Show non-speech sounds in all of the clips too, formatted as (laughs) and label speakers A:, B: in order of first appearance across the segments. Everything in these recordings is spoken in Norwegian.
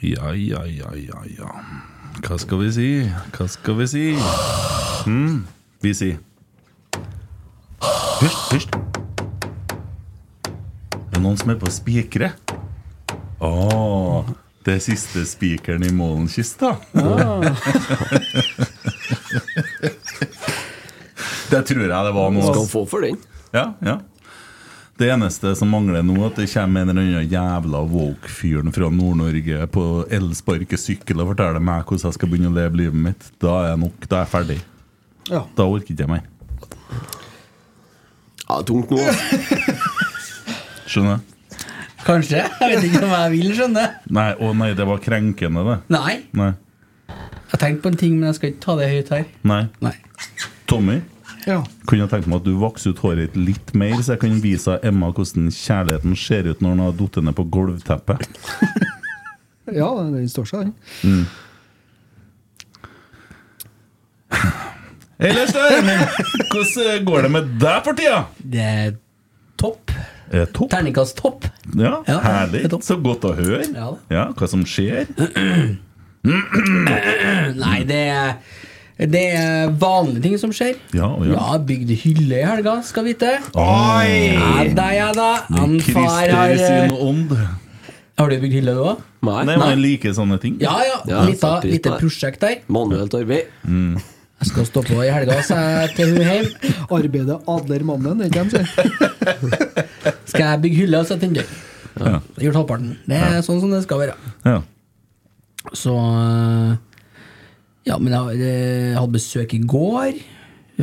A: Ja, ja, ja, ja, ja. Hva skal vi si? Hva skal vi si? Mm, vi sier Hysj, hysj. Det er noen som er på spikere. Å, det er siste spikeren i Målenkista.
B: Ah.
A: (laughs) det tror jeg det var noe
B: Skal få for den.
A: ja, ja. Det eneste som mangler nå, er at det kommer en eller annen jævla woke-fyren fra Nord-Norge på elsparkesykkel og forteller meg hvordan jeg skal begynne å leve livet mitt. Da er jeg nok. Da er jeg ferdig.
B: Ja.
A: Da orker ikke jeg mer.
B: Ja, det er tungt nå. altså.
A: Skjønner du?
C: Kanskje. Jeg vet ikke om jeg vil skjønne.
A: Nei, å nei, det var krenkende, det.
C: Nei.
A: Nei.
C: Jeg tenkte på en ting, men jeg skal ikke ta det høyt her.
A: Nei.
C: Nei.
A: Tommy,
C: Ja.
A: kunne jeg tenkt meg at du vokste ut håret ditt litt mer, så jeg kan vise Emma hvordan kjærligheten ser ut når den har falt ned på gulvteppet?
D: Ja, den står seg, den.
A: Mm. Hei, Leirstein! Hvordan går det med deg for tida?
C: Det er topp.
A: Eh, topp.
C: Terningkast topp.
A: Ja,
C: Ja,
A: herlig.
C: det er topp.
A: Så godt å høre.
C: Ja.
A: hva som
C: (clears throat)
A: skjer?
C: Nei, det er, det er vanlige ting som skjer.
A: Ja, og ja.
C: Ja, bygd hylle i helga, skal vite.
A: Oi!
C: Ja da, ja da. Ah, Han far har eh,
A: Krister sin ånd.
C: Har du bygd hylle, du òg?
A: Nei,
B: Nei.
A: man liker sånne ting.
C: Ja ja.
B: Ja,
C: Lita,
B: satt pris på
C: lite
B: det.
C: prosjekt der.
B: Manuelt arbeid.
A: Mm,
C: Jeg skal stå på i helga, sa jeg til hun hjemme.
D: Arbeidet adler mannen, er ikke det de sier?
C: (laughs) Skal jeg bygge hylle og sette inn dør?
A: Ja.
C: Jeg har Gjort halvparten. Det er sånn som det skal være.
A: Ja.
C: Så øh, Ja, men jeg, øh, jeg hadde besøk i går.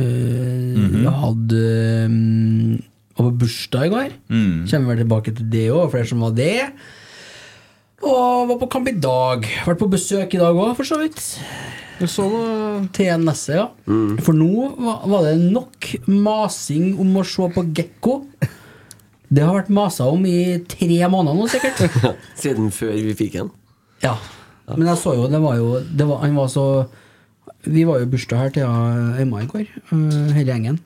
C: Øh,
A: Mhm.
C: Jeg hadde øh, var på bursdag i går.
A: Mhm.
C: Kommer vel tilbake til det òg, flere som var det. Og var på kamp i dag. Vært på besøk i dag òg, for så vidt.
D: Du så noe
C: Til Nesse, E, ja.
B: Mm.
C: (laughs) For nå var, var det nok masing om å se på Gekko. Det har vært masa om i tre måneder nå, sikkert.
B: Siden før vi fikk den.
C: Ja. Men jeg så jo, det var jo det var, Han var så Vi var jo i bursdag her til ja, Emma i går, øh, hele gjengen.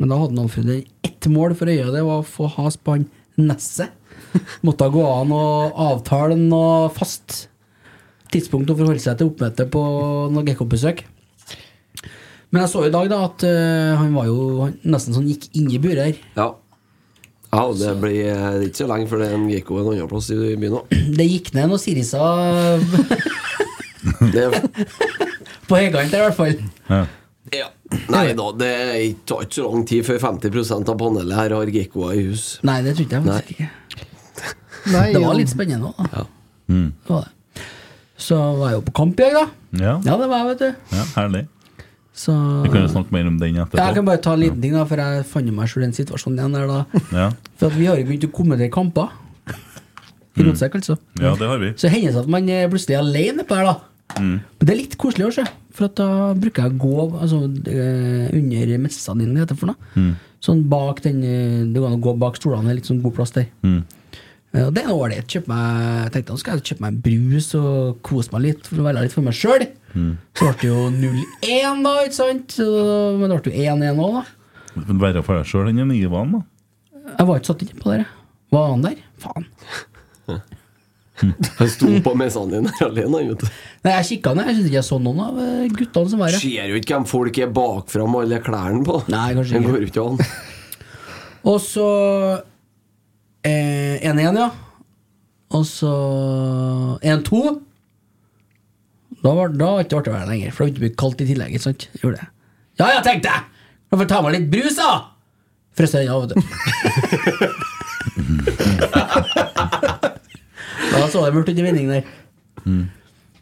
C: Men da hadde han Alfred ett mål for øyet, det var å få has på han Nesset. Måtte gå an å avtale noe fast tidspunkt å forholde seg til oppmøte på noe gekkobesøk. Men jeg så i dag da at øh, han var jo han, nesten sånn gikk inn i buret her.
B: Ja. ja og det blir eh, det er ikke så lenge før det er en Gekko en annen plass i byen òg.
C: Det gikk ned noen siriser
B: Det,
C: (laughs) På høykant der, i hvert fall.
A: Ja.
B: ja. Nei da, det er- tar ikke så lang tid før 50 av panelet her har gikkoer i hus.
C: Nei, det trodde jeg faktisk ikke.
D: Nei,
C: Det var
D: ja.
C: litt spennende òg, da.
B: Ja.
A: mm,
C: Det var det. Så var jeg jo på kamp i dag, da.
A: Ja.
C: Ja, det var jeg, vet du.
A: ja, herlig.
C: Så
A: Vi kan jo snakke mer om den
C: Ja, Jeg kan
A: etterpå.
C: bare ta en liten ting, da, for jeg fant meg selv i den situasjonen igjen der, da.
A: Ja,
C: For at vi har jo begynt å kommentere kamper. I rotsekk, altså.
A: Mm. ja det har vi.
C: Så hender det seg at man eh, plutselig er alene på her, da. Men det er litt koselig å se, for at da bruker jeg å gå altså, eh, under messa dine, det heter for noe.
A: Mm.
C: Sånn bak den eh, Det går an å gå bak stolene, det er litt sånn god plass der.
E: Hmm.
C: Eh, Og det er noe ålreit. Kjøpe meg- Jeg tenkte nå skal jeg kjøpe meg en brus og kose meg litt for å være litt for meg sjøl.
A: mm.
C: Så ble det jo 0-1, da, ikke sant? Så- Men det ble jo 1-1 òg, da.
A: Men Verre for deg sjøl enn en Ivan, da.
C: Jeg var ikke satt inn på dere. Var han der? Faen.
B: Han sto på messene dine alene, han, vet du.
C: Nei, jeg kikka ned. Jeg syns ikke jeg så noen av eh, guttene som var her.
B: Ser jo ikke hvem folk er bakfra med alle klærne på.
C: Nei, kanskje
B: Det
C: ikke.
B: går jo ikke an.
C: Og så eh, 1-1, ja. Og så 1-2. Da var da var det ikke artig å være her lenger, for det ble ikke kaldt i tillegg. ikke sant? Gjorde det. Ja, ja, tenkte jeg! Da får jeg ta meg litt brus, da! Frøs den av, vet du. (laughs) da så det mørkt ut i vendingen der.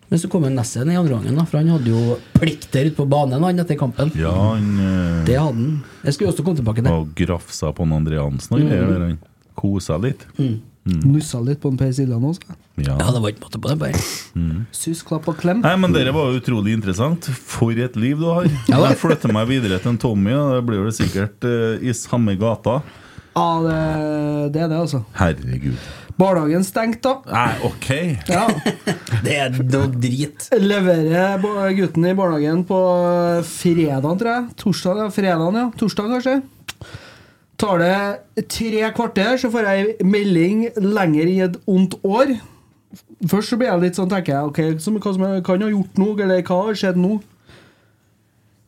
C: Men så kom jo Nesset i andre gangen, da, for han hadde jo plikter ute på banen han etter kampen.
A: Ja, han eh,
C: Det hadde han. Jeg skulle jo også komme tilbake til det.
A: var og grafsa på han André Hansen og
D: Mm.
A: greier der. Han kosa litt. Mm.
D: Nussa litt på en Per Siljan også.
A: Ja.
C: Ja, det var ikke måte på det, bare.
D: Sus, klapp og klem.
A: Nei, men dere var jo utrolig interessant. For et liv
D: (laughs)
A: du har.
C: Ja, da.
A: Jeg flytter meg videre til en Tommy, og det blir vel sikkert eh, i samme gata.
D: Ja, det, det er det, altså.
A: Herregud.
D: Barnehagen stengt, da.
A: Nei, ok.
D: Ja.
A: (laughs)
C: Det er noe drit.
D: Leverer ba- gutten i barnehagen på fredag, tror jeg. Torsdag, ja. Fredagen, ja. Torsdag, kanskje. Tar det tre kvarter, så får jeg ei melding lenger i et ondt år. Først så blir jeg litt sånn, tenker jeg, ok, som, hva som jeg kan ha gjort nå, eller hva har skjedd nå?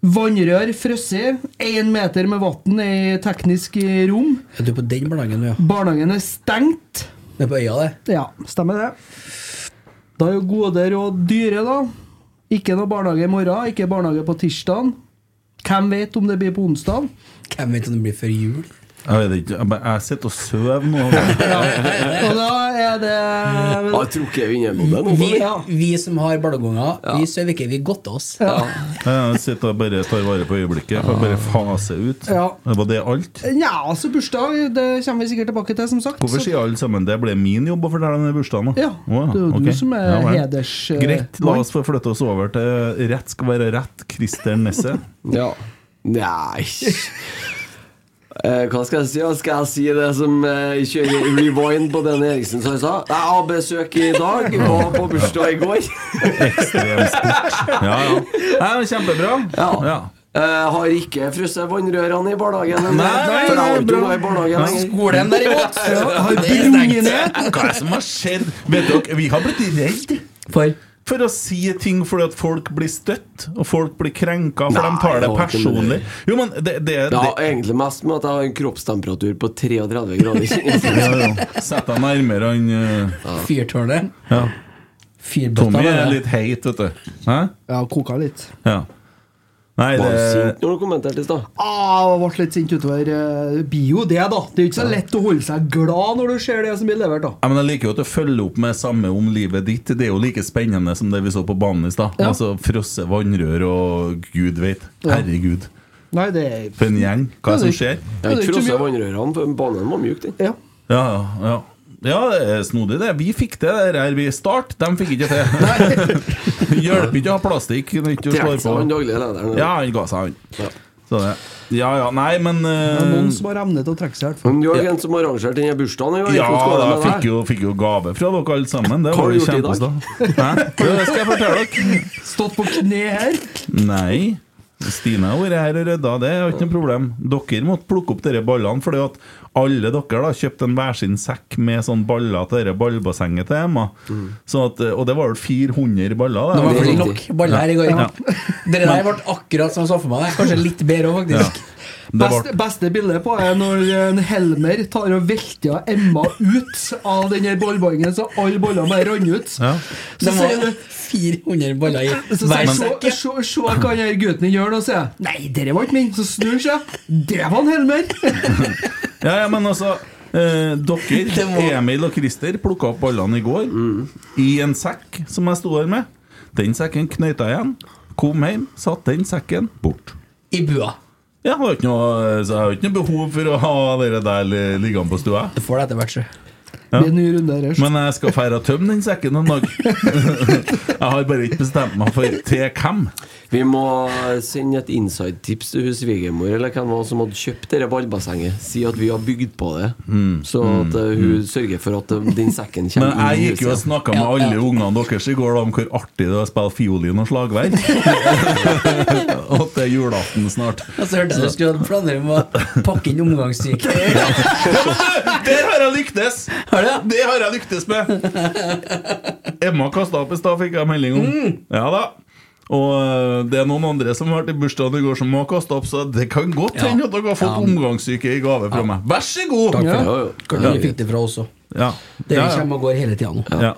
D: Vannrør frosset, én meter med vann i teknisk rom.
C: Ja, du er på den barnehagen, du, ja.
D: Barnehagen er stengt.
C: Det er på øya, det.
D: Ja, stemmer det. Da er jo gode råd dyre, da. Ikke noe barnehage i morgen, ikke barnehage på tirsdag. Hvem vet om det blir på onsdag?
C: Hvem vet om det blir før jul?
A: Jeg vet ikke, jeg bare- jeg sitter og sover
D: (laughs)
A: nå.
D: Og da er det
B: Har trukket unna med det nå.
C: Vi,
D: Ja.
C: vi som har barneunger,
B: Ja.
C: vi sover ikke, vi godter oss.
A: Jeg sitter og bare tar vare på øyeblikket. For jeg bare fase ut.
D: Ja.
A: Det var det alt.
D: Nja, altså bursdag det kommer vi sikkert tilbake til, som sagt.
A: Hvorfor
D: Så-
A: sier alle sammen det ble min jobb å fortelle om den bursdagen? da?
D: Ja,
A: Å,
D: det er jo
A: ok.
D: du som er
A: Ja, vel.
D: heders, eh,
A: Greit, la
D: mann.
A: oss få flytte oss over til rett skal være rett, Christer Nesse.
B: Ja. Nei Eh, Hva skal jeg si? da? Skal jeg si det som eh, kjører rewind på den Eriksen som jeg sa? Jeg har besøk i dag, var på bursdag i går. (laughs)
A: Ekstremsport. Ja, ja. Nei, men Kjempebra.
B: Ja.
A: Ja.
B: Eh, har ikke frosset vannrørene i barnehagen. ennå,
A: (laughs) Nei, nei,
B: for jeg har
A: nei,
B: ikke
A: bra.
B: noe i barnehagen
A: Nei.
B: lenger.
A: (laughs)
C: Skolen
B: (laughs)
C: derimot!
D: Har brungen ned?
A: Hva er det som har skjedd? Vet dere, Vi har blitt redd
C: For
A: for å si ting fordi at folk blir støtt, og folk blir krenka, for
B: Nei,
A: de tar det
B: det har ikke med
A: personlig.
B: det.
A: Jo, men det, det,
B: Det
A: det
B: har egentlig mest med at jeg har en kroppstemperatur på 33 grader.
A: (laughs) ja, ja. Sett deg nærmere han eh,
C: fyrtårnet.
A: ja.
C: Fyrbøtta.
A: Tommy er
C: bare.
A: litt heit, vet du. Hæ?
D: Ja, koka litt.
A: Ja. Nei,
B: Var du
A: det
B: sint når du kommenterte i stad?
D: Ah, jeg ble litt sint utover. eh, Blir jo det, da. Det er jo ikke så lett å holde seg glad når du ser det som blir levert, da.
A: Ja, men Jeg liker jo at du følger opp med samme om livet ditt. Det er jo like spennende som det vi så på banen i stad.
D: Ja.
A: Altså frosse vannrør og gud veit. Herregud,
D: Nei, det er
A: for en gjeng. Hva er det som skjer?
B: Jeg har ikke
D: Det er ikke så
B: frosset
D: mye.
B: vannrørene, for banen var mjuk, den.
D: Ja.
A: Ja, ja, ja. Ja, det er snodig, det. Vi fikk det der her vi start. De fikk ikke til. (laughs) Hjelper ikke å ha plastikk når ikke du
B: Trekk
A: slår
B: seg han
A: på.
B: daglige lederen.
A: Ja, han ga seg,
B: Ja.
A: han. Så det. Ja ja, nei, men
D: Det er noen
A: eh,
D: som har evne til å trekke seg, i hvert fall.
B: Men du er jo en som arrangerte denne bursdagen i år.
A: ja,
B: Hvordan går det
A: da
B: med deg?
A: fikk jo, fikk jo gave fra dere alle sammen. Det
B: Hva har
A: var
B: du
A: jo
B: gjort i dag?
A: kjempestas. Hæ?
B: (laughs)
A: Jo, Det skal jeg fortelle dere.
D: Stått på kne her.
A: Nei. Stine har vært her og redda, det er jo ikke noe problem. Dere måtte plukke opp dere ballene, fordi at alle dere da kjøpte en hver sin sekk med sånn baller til dere ballbassenget til Emma. Sånn at, og det var vel 400 baller.
C: Det
A: Da.
C: var
B: Det er
C: fordi
B: riktig.
C: nok baller her i går. Dere der ble akkurat som jeg så for meg. det. Kanskje litt bedre òg, faktisk.
D: Beste, beste bildet på er når eh, en Helmer tar og velter Emma ut av den her ballbongen, så alle bollene bare renner ut.
A: Ja.
D: Så
C: Det
D: sier
C: var 400 baller i
D: så sier
C: hver
D: jeg, se,
C: sekk.
D: se, se hva den her gutten din gjør nå, sier jeg. Nei, dere var ikke min. Så snur han seg. Det var en Helmer!
A: Ja, ja, men altså eh, Dere,
C: (laughs) Det må-
A: Emil og Christer, plukka opp ballene i går i en sekk som jeg sto der med. Den sekken knøyta jeg igjen. Kom hjem, satt den sekken bort.
C: I bua.
A: Jeg har ikke noe, så jeg har ikke noe behov for å ha det der li- liggende på stua.
C: Du får det etter hvert, sjø.
D: Det blir en ny runde her. så.
A: Men jeg skal feire å tømme den sekken en dag. Jeg har bare ikke bestemt meg for til hvem.
B: Vi må sende et inside-tips til hun svigermor eller hvem det var som hadde kjøpt dette ballbassenget. Si at vi har bygd på det, så at uh,
C: eh,
B: hun sørger for at uh, den sekken
A: Mm, Men
B: kommer
A: jeg gikk jo og
B: huset.
A: snakka med
C: Ja, ja.
A: alle ungene deres i går da om hvor artig det er å spille fiolin og slagverk. (laughs) Og at det er julaften snart.
C: Og så hørte jeg du skulle planlegge om å pakke inn omgangssyke.
A: Der har jeg lyktes!
C: Har du det?
A: Det har jeg lyktes med! Emma kasta opp i stad, fikk jeg melding om. Ja da. Og øh, det er noen andre som har vært i bursdagen i går som må kaste opp, så det kan godt
C: Ja.
A: hende at dere har fått
C: Ja.
A: omgangssyke i gave fra meg. Vær så god!
C: Takk for
B: Ja,
C: det.
B: jo.
C: Kanskje du fikk det fra oss òg.
A: Ja.
C: Dere
A: Ja, ja.
C: kommer og går hele tida nå.
A: Ja.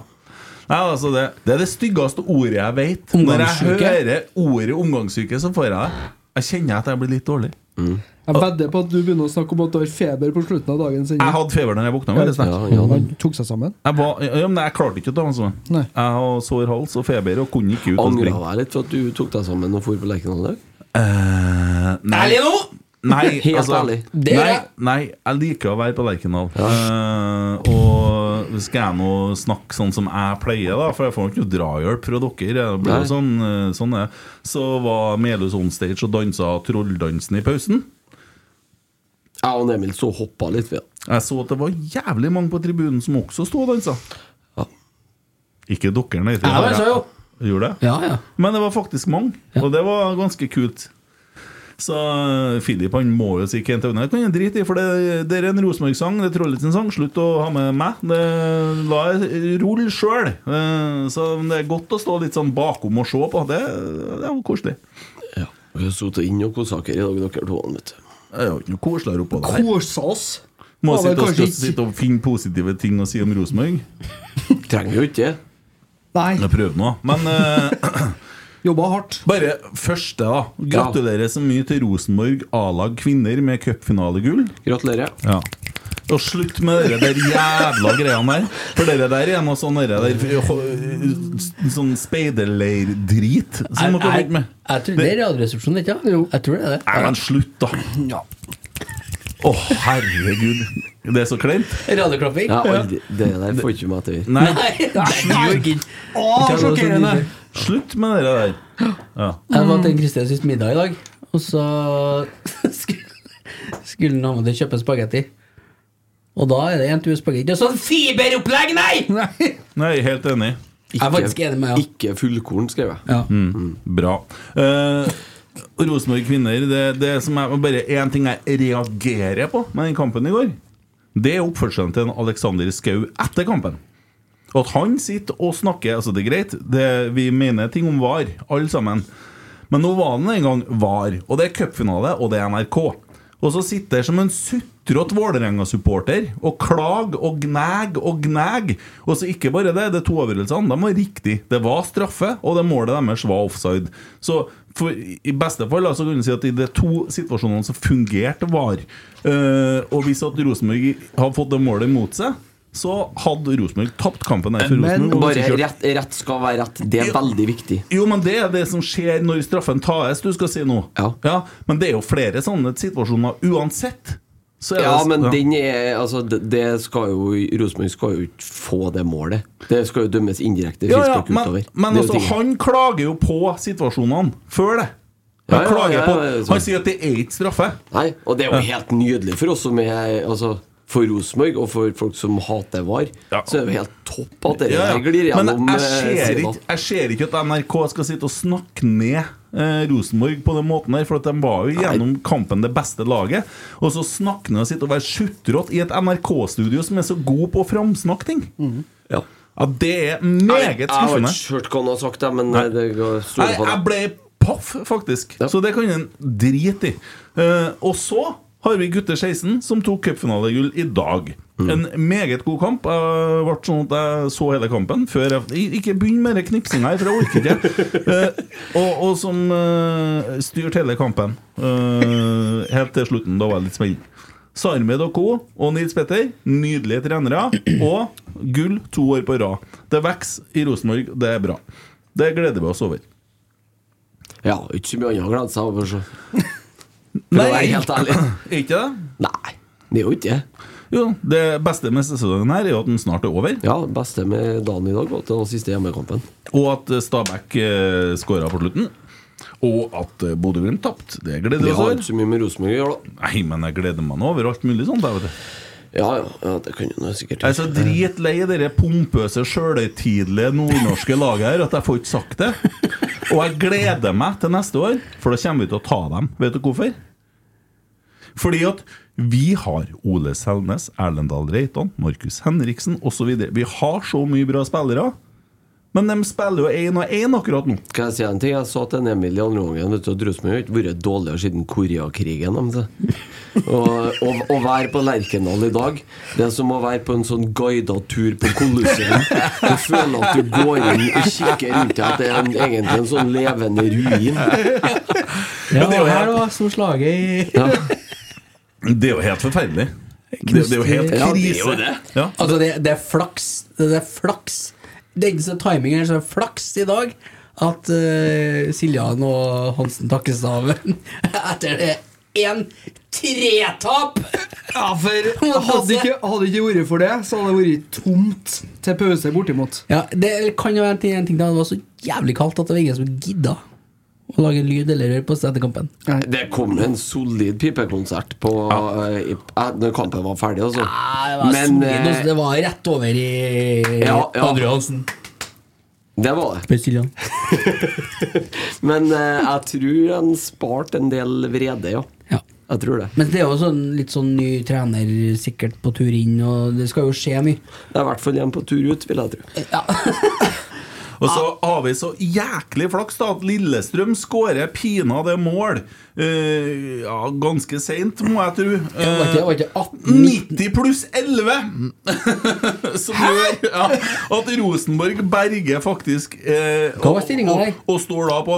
A: Nei, altså det, det er det styggeste ordet jeg vet. Når jeg
C: Omgangssyke.
A: hører ordet omgangssyke, så får jeg det. Jeg kjenner at jeg blir litt dårlig.
B: Mm.
D: Jeg vedder på at du begynner å snakke om at du har feber på slutten av dagen. Sindre.
A: Jeg hadde feber da jeg våkna. veldig sterkt.
B: Ja, ja.
D: Han tok seg sammen.
A: Jeg, var, ja, men jeg klarte ikke å ta meg sammen.
D: Nei.
A: Jeg har sår hals og feber og kunne ikke ut og
B: Angra
A: springe.
B: jeg litt for at du tok deg sammen og for på Lerkendal i dag?
A: Eh, nei.
C: Ærlig nå!
A: Nei,
B: (laughs)
A: altså,
B: Helt ærlig.
C: Det gjør
A: nei,
C: jeg.
A: nei, jeg liker å være på Lerkendal. Eh, og skal jeg nå snakke sånn som jeg pleier, da, for jeg får ikke noe drahjelp fra dere. Jeg blir jo
B: Nei.
A: sånn, eh, sånn er. det. Så var Melhus on stage og dansa trolldansen i pausen.
B: Jeg og Emil så hoppa litt. ved
A: Jeg så at det var jævlig mange på tribunen som også sto og dansa.
B: Ja.
A: Ikke dere, nei. det
C: Jeg
A: var
C: dansa jo.
A: Gjorde det?
C: Ja, ja.
A: Men det var faktisk mange, og det var ganske kult. Så eh, Philip han må jo si Kent Aune. Det kan jeg drite i, for det, det er en Rosenborg-sang. Det er Trollets sang. Slutt å ha med meg. Det, la jeg rulle sjøl. Eh, Så det er godt å stå litt sånn bakom og se på. Det, det var koselig.
B: Ja. Vi har sittet inne og kosa dere i dag, dere to. Vet du.
A: Det er jo ikke noe koseligere oppå det her.
D: Kosa oss.
A: Må
D: Var vel
A: sitte og,
D: kanskje
A: skal sitte og finne positive ting å si om Rosenborg.
B: Trenger jo ikke det.
D: Nei,
A: Jeg prøver nå. Men eh,
D: jobba hardt.
A: bare første, da. Gratulerer så mye til Rosenborg A-lag kvinner med cupfinalegull.
B: Gratulerer.
A: Ja. Og slutt med dere der jævla greiene der. For dere der er noe sånn dere der Sånn speiderleirdrit som dere
C: Jeg-
A: holder på med.
C: Jeg tror det er Radioresepsjonen, ikke sant? Jeg tror det er
A: Nei,
C: det.
A: men slutt, da. Å, herregud. Det er så kleint.
C: Radioklapping?
B: Jeg har aldri, det der får ikke meg til.
A: Nei,
C: Nei, det gjør ikke det.
D: Å, sjokkerende!
A: slutt med dere der.
C: Jeg var til Kristian sist middag i dag, og så skulle skulle han ha med til å kjøpe spagetti. Og da er det en tur spagetti. Og sånn fiberopplegg, nei!
A: Nei, helt enig. Mm.
C: Jeg er faktisk enig med ja.
B: Ikke fullkorn, skrev jeg. Mm.
C: ja.
A: Bra. Eh, Rosenborg kvinner, det, det som er bare én ting jeg reagerer på med den kampen i går, det er oppførselen til en Alexander Skau etter kampen. Og at han sitter og snakker Altså, det er greit, det, vi mener ting om VAR, alle sammen. Men nå var den en gang VAR, og det er cupfinale, og det er NRK. Og så sitter jeg som en sutrete Vålerenga-supporter og klager og gnag og gnag. Og så ikke bare det, det er to avgjørelsene. De var riktig. Det var straffe, og det målet deres var offside. Så for, i beste fall da, så kan du si at i de to situasjonene så fungerte VAR. Eh, og hvis at Rosenborg har fått det målet mot seg, så hadde Rosenborg tapt kampen. her for
D: Men
A: Rosenborg, og hvis
B: Bare
A: ikke-
B: rett, rett skal være rett. Det er veldig viktig.
A: jo, men det er det som skjer når straffen tas, du skal si nå.
B: Ja.
A: men det er jo flere sånne situasjoner uansett. Så er
B: Ja,
A: det-
B: men den er Altså, det det skal jo Rosenborg skal jo ikke få det målet. Det skal jo dømmes indirekte
A: ja, ja,
B: frispark
A: men,
B: utover.
A: men
B: Det er jo
A: altså,
B: tingen.
A: han klager jo på situasjonene før det.
B: Ja,
A: Han
B: ja,
A: klager
B: ja, ja, ja,
A: på Han
B: sånn.
A: sier at det er ikke straffe.
B: Nei, og det er jo helt nydelig for oss som er altså, for Rosenborg, og for folk som hater VAR,
A: Ja.
B: så er det jo helt topp at dere
A: Ja, ja.
B: glir gjennom
A: Men jeg
B: eh,
A: ser,
B: sidene.
A: ikke, jeg ser ikke at NRK skal sitte og snakke ned eh, Rosenborg på den måten her, for at de var jo gjennom kampen det beste laget. Og så snakke ned og sitte og være sutrått i et NRK-studio som er så god på å framsnakke ting.
B: Mm. Ja.
A: Ja, det er meget
B: Jeg har
A: skuffende.
B: ikke hørt hva han har sagt, jeg, men eh,
A: Nei.
B: det går
A: Nei,
B: store på
A: jeg
B: det.
A: ble Paff, faktisk.
B: Ja.
A: Så det kan en drite i. Eh, og så har vi gutter 16 som tok cupfinalegull i dag. En meget god kamp. Jeg ble sånn at jeg så hele kampen før jeg Ik- Ikke begynn med den knipsinga her, for jeg orker ikke. Eh, og, og som eh, styrte hele kampen eh, helt til slutten. Da var jeg litt smell. Sarmed og co. og Nils Petter, nydelige trenere. Og gull to år på rad. Det vokser i Rosenborg, det er bra. Det gleder vi oss over.
B: Ja, ikke så mye annet å glede seg over,
A: (laughs)
B: så.
A: Nei.
B: For å være helt ærlig.
A: Er ikke det?
B: Nei, det er jo ikke det.
A: Jo, det beste med sesongen her er jo at den snart er over,
B: Ja, det beste med dagen i dag var at det var siste hjemmekampen.
A: og at Stabæk eh, skåra på slutten. Og at eh, Bodø-Glimt tapte. Det gleder
B: Vi
A: vi oss
B: har
A: over.
B: ikke så mye med Rosenborg å gjøre, da.
A: Nei, men jeg gleder meg nå over alt mulig sånt. Jeg vet du.
B: Ja, ja, ja det kan jo nå sikkert
A: Jeg er så dritlei av det pompøse, sjølhøytidelige nordnorske laget her at jeg får ikke sagt det. Og jeg gleder meg til neste år, for da kommer vi til å ta dem. Vet du hvorfor? Fordi at vi har Ole Selnes, Erlend Dahl Reitan, Markus Henriksen osv. Vi har så mye bra spillere, men de spiller jo én og én akkurat nå.
B: Kan jeg si en ting? Jeg sa til en Emil i andre gangen vet du, at Rosenborg har ikke vært dårligere siden Koreakrigen. om det. Og og- å være på Lerkendal i dag, det er som å være på en sånn guidet tur på Colosseum. Du føler at du går inn og kikker rundt deg, at det er en, egentlig en sånn levende ruin.
C: Ja, det her da, som slaget i
B: Ja,
A: Det er jo helt forferdelig. Det, det er jo helt
B: Ja, det er jo
A: krise.
B: det.
A: Ja.
C: Altså, det, det er flaks. Det er flaks. Det er ikke så timingen er så flaks i dag at eh, Siljan og Hansen takkes av etter det én tretap!
D: Ja,
C: (laughs)
D: for hadde ikke, hadde ikke vært for det, så hadde det vært tomt til pause bortimot.
C: Ja, det kan jo være en ting, en ting da. Det var så jævlig kaldt at det var ingen som gidda å lage lyd eller rør på seg etter kampen.
B: Det kom en solid pipekonsert på, eh, i- eh, når kampen var ferdig, altså.
C: det var,
B: Men,
C: solid,
B: eh,
C: altså. det var rett over i
B: Ja, ja.
C: Andre Johansen.
B: det var det.
C: Spør Siljan.
B: (laughs) Men eh, jeg tror han sparte en del vrede, ja.
C: Ja.
B: Jeg tror det.
C: Men det er jo sånn, litt sånn ny trener sikkert på tur inn, og det skal jo skje mye.
B: Det er i hvert fall en på tur ut, vil jeg tro.
C: Ja.
A: Og så har vi så jæklig flaks da at Lillestrøm skårer pinadø mål eh, ja, ganske seint, må jeg tro.
C: Det var ikke, det var ikke 18
A: 90 pluss 11! (laughs) Som gjør ja, at Rosenborg berger faktisk eh,
C: Hva var stillingen
A: og,
C: der?
A: og, og står da på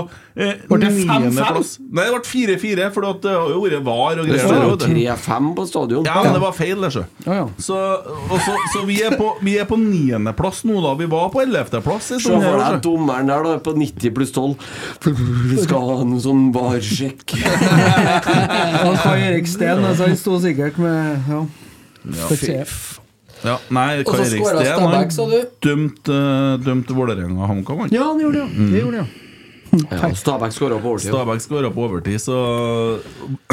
D: Var det
A: niendeplass. Nei, det ble 4-4, for at det har jo vært var og greier. der, vet du.
B: 3-5 på stadion.
A: Ja, men det var feil, det, sjø.
D: Ja, ja.
A: Så, og så, så vi er på, vi er på niendeplass nå, da. Vi var på ellevteplass.
B: Se for deg dommeren der, da, på 90 pluss 12. Skal ha en sånn
A: (laughs)
B: varsjekk.
D: Han Kai Erik Steen, altså, han sto sikkert med ja.
A: Ja, nei,
C: Og så
A: Kai Erik
C: skåret
A: Steen
C: Stabæk, sa du?
A: har dømt, uh, dømt Vålerenga og HamKam. han.
D: ja, han gjorde det, ja. Det gjorde det, ja.
B: Ja, Stabæk skåra på overtid.
A: Stabæk skåra på overtid, så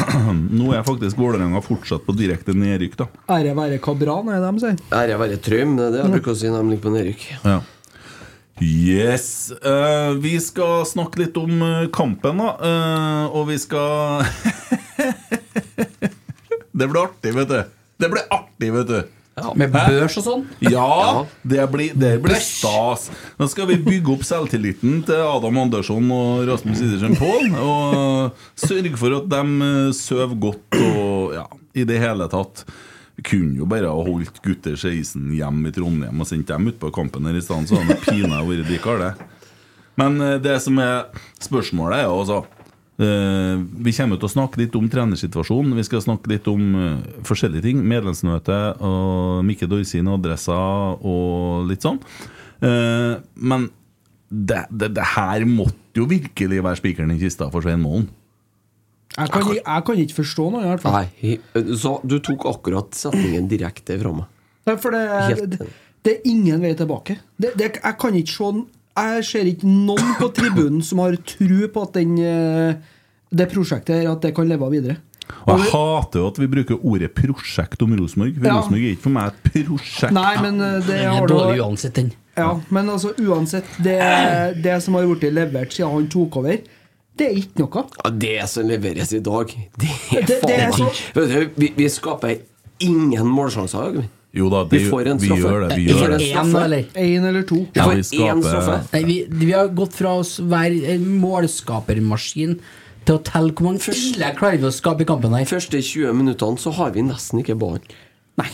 A: (clears throat) nå er faktisk Vålerenga fortsatt på direkte nedrykk, da.
D: Mm. Ære være Kabran, er det de sier.
B: Ære være Trym, det er det jeg bruker å si når de ligger på nedrykk.
A: Ja. Yes! Eh, vi skal snakke litt om eh, kampen, da. Eh, og vi skal Det ble artig, vet du. Det ble artig, vet du.
C: med børs og sånn.
A: Ja, det blir, det blir
C: Bæsj.
A: stas. Nå skal vi bygge opp selvtilliten til Adam Andersson og Rasmus Idersen Pål. Og sørge for at de eh, sover godt og ja, i det hele tatt. Vi kunne jo bare ha holdt gutter 16 hjem i Trondheim og sendt dem ut på kampen her i stedet, så hadde det pinadø vært likere, det. Men eh, det som er spørsmålet, er jo altså eh, Vi kommer til å snakke litt om trenersituasjonen. Vi skal snakke litt om eh, forskjellige ting. Medlemsmøte og Mikke Dorsin og adressa og litt sånn. Eh, men det, det, det her måtte jo virkelig være spikeren i kista for Svein Målen.
D: Jeg kan, jeg kan ikke forstå noe, i hvert fall.
B: Nei, he- eh, så du tok akkurat setningen direkte fra meg.
D: Nei, For det,
B: Helt
D: det, det er ingen vei tilbake. Det, det, jeg kan ikke se Jeg ser ikke noen på tribunen som har tro på at den, eh, det prosjektet her, at det kan leve videre.
A: Og jeg hater jo at vi bruker ordet 'prosjekt' om Rosenborg. For
D: Ja.
A: Rosenborg er ikke for meg et prosjekt.
D: Nei, men eh, det
C: Den
D: har
C: er
D: du
C: dårlig uansett, den.
D: Ja, men altså uansett, det, det som har blitt levert siden han tok over, det er ikke noe.
B: Ja, det som leveres i dag, det er
D: Det- det er
B: faen meg
D: så-
B: Vet du, vi, vi skaper ingen målsjanser i dag. vi.
A: Jo da, det,
B: Vi får en
A: vi
B: straffe.
A: gjør det. Vi
B: Vi får
A: gjør
B: en
A: det.
B: straffe.
C: Én, eller?
D: Én eller to.
B: Vi
A: Ja,
B: får
A: vi
B: én
A: skaper-
B: straffe.
C: Nei, vi, vi har gått fra å være en målskapermaskin til å telle hvor mange ille klarer vi å skape i kampen
B: De
C: her.
B: første 20 minuttene så har vi nesten ikke ballen. Nei.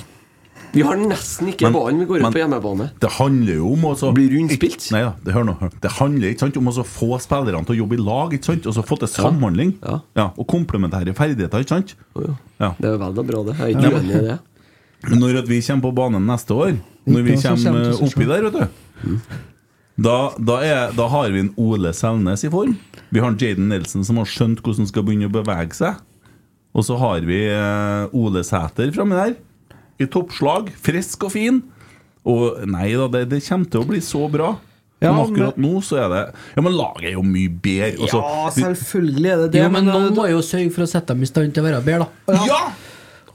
B: Vi har nesten ikke
A: Men-
B: ballen. Vi går ut
A: men-
B: på hjemmebane.
A: Det handler jo om å
B: Blir rundspilt.
A: Nei da, det, hør nå, hør. det handler ikke sant, om å så få spillerne til å jobbe i lag, ikke sant? og så få til samhandling.
B: Ja.
A: og komplementære ferdigheter, ikke sant? Ja.
B: Det er veldig bra, det. Jeg er ikke uenig i det.
A: Men når at vi kommer på banen neste år, når vi
D: Ja, så kommer
A: kommer
D: det
A: eh,
D: seg
A: oppi der, vet du
B: Mm.
A: da, da, er, da har vi en Ole Selnes i form. Vi har en Jaden Nelson som har skjønt hvordan han skal begynne å bevege seg. Og så har vi eh, Ole Sæter framme der, i toppslag. Frisk og fin. Og nei da, det, det kommer til å bli så bra.
D: Ja,
A: men akkurat nå så er det Ja, men laget er jo mye bedre. Altså, og
D: Ja,
A: så-
D: selvfølgelig er det det.
C: altså, Jo, men
D: men,
C: noen
D: eh,
C: må jo sørge for å sette dem i stand til å være bedre, da.
A: ja!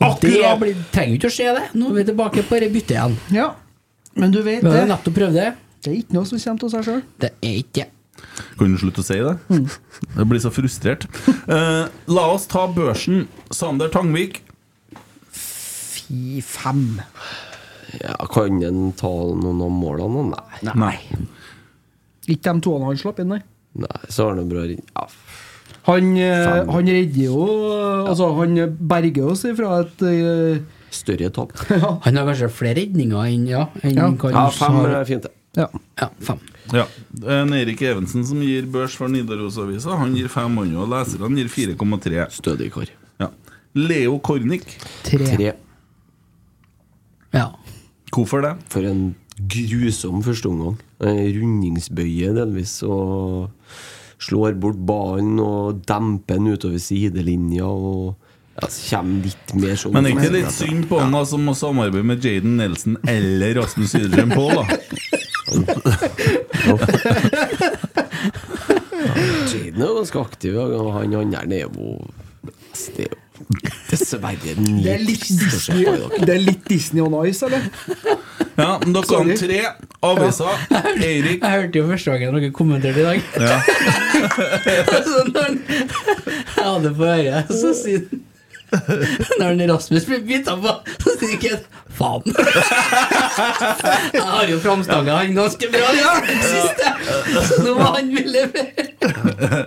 C: Det
A: Akkurat!
C: blir, trenger jo ikke å skje, det. Nå er vi tilbake på dette byttet igjen.
D: ja. men du vet
C: Vi har jo
D: det.
C: nettopp prøvd det.
D: Det er ikke noe som kommer av seg sjøl.
C: Det er ikke det.
A: Kan du slutte å si det?
D: Mm.
A: Jeg blir så frustrert. Eh, la oss ta børsen. Sander Tangvik.
D: I fem.
B: Ja, kan en ta noen av målene? Nei.
A: Nei.
D: Ikke de toene han slapp inn, nei.
B: Nei, så har han bra ring. Ja.
D: Han, eh,
B: Fem.
D: han redder jo eh, Altså, han berger oss ifra et eh, (laughs)
B: Større tap.
C: Han har kanskje flere redninger enn ja, enn
D: Ja.
C: Karius
B: Ja, fem
C: har.
B: er fint, det.
D: Ja.
C: Ja, fem.
A: Ja. Det er en Erik Evensen som gir børs for Nidarosavisa. Han gir 500, og leserne gir 4,3.
B: Stødig kar.
A: Ja. Leo Kornik.
C: Tre.
B: Tre.
C: Ja.
A: Hvorfor det?
B: For en grusom førsteomgang. Eh, Rundingsbøye delvis, og slår bort ballen og demper den utover sidelinja. Og ja, så kommer litt mer sånn
A: Men er ikke det litt synd på han da som må samarbeide med Jaden Nelson eller Rasmus Sydrum Paul, da?
B: Jaden er jo ganske aktiv, og han andre er jo Det er jo dessverre den
D: Det er litt Disney Det er litt Disney on Ice, eller?
A: Ja, men dere har
D: Sorry.
A: tre. Avisa. Eirik.
C: Jeg hørte jo første gangen dere kommenterte i dag.
A: Ja.
C: (laughs) Så når han- Jeg hadde på øret, så sier han- Når han Rasmus blir bytta på, så sier ikke jeg faen. Jeg har jo framstanga han ganske bra, ja, siste. Så nå må han vil levere.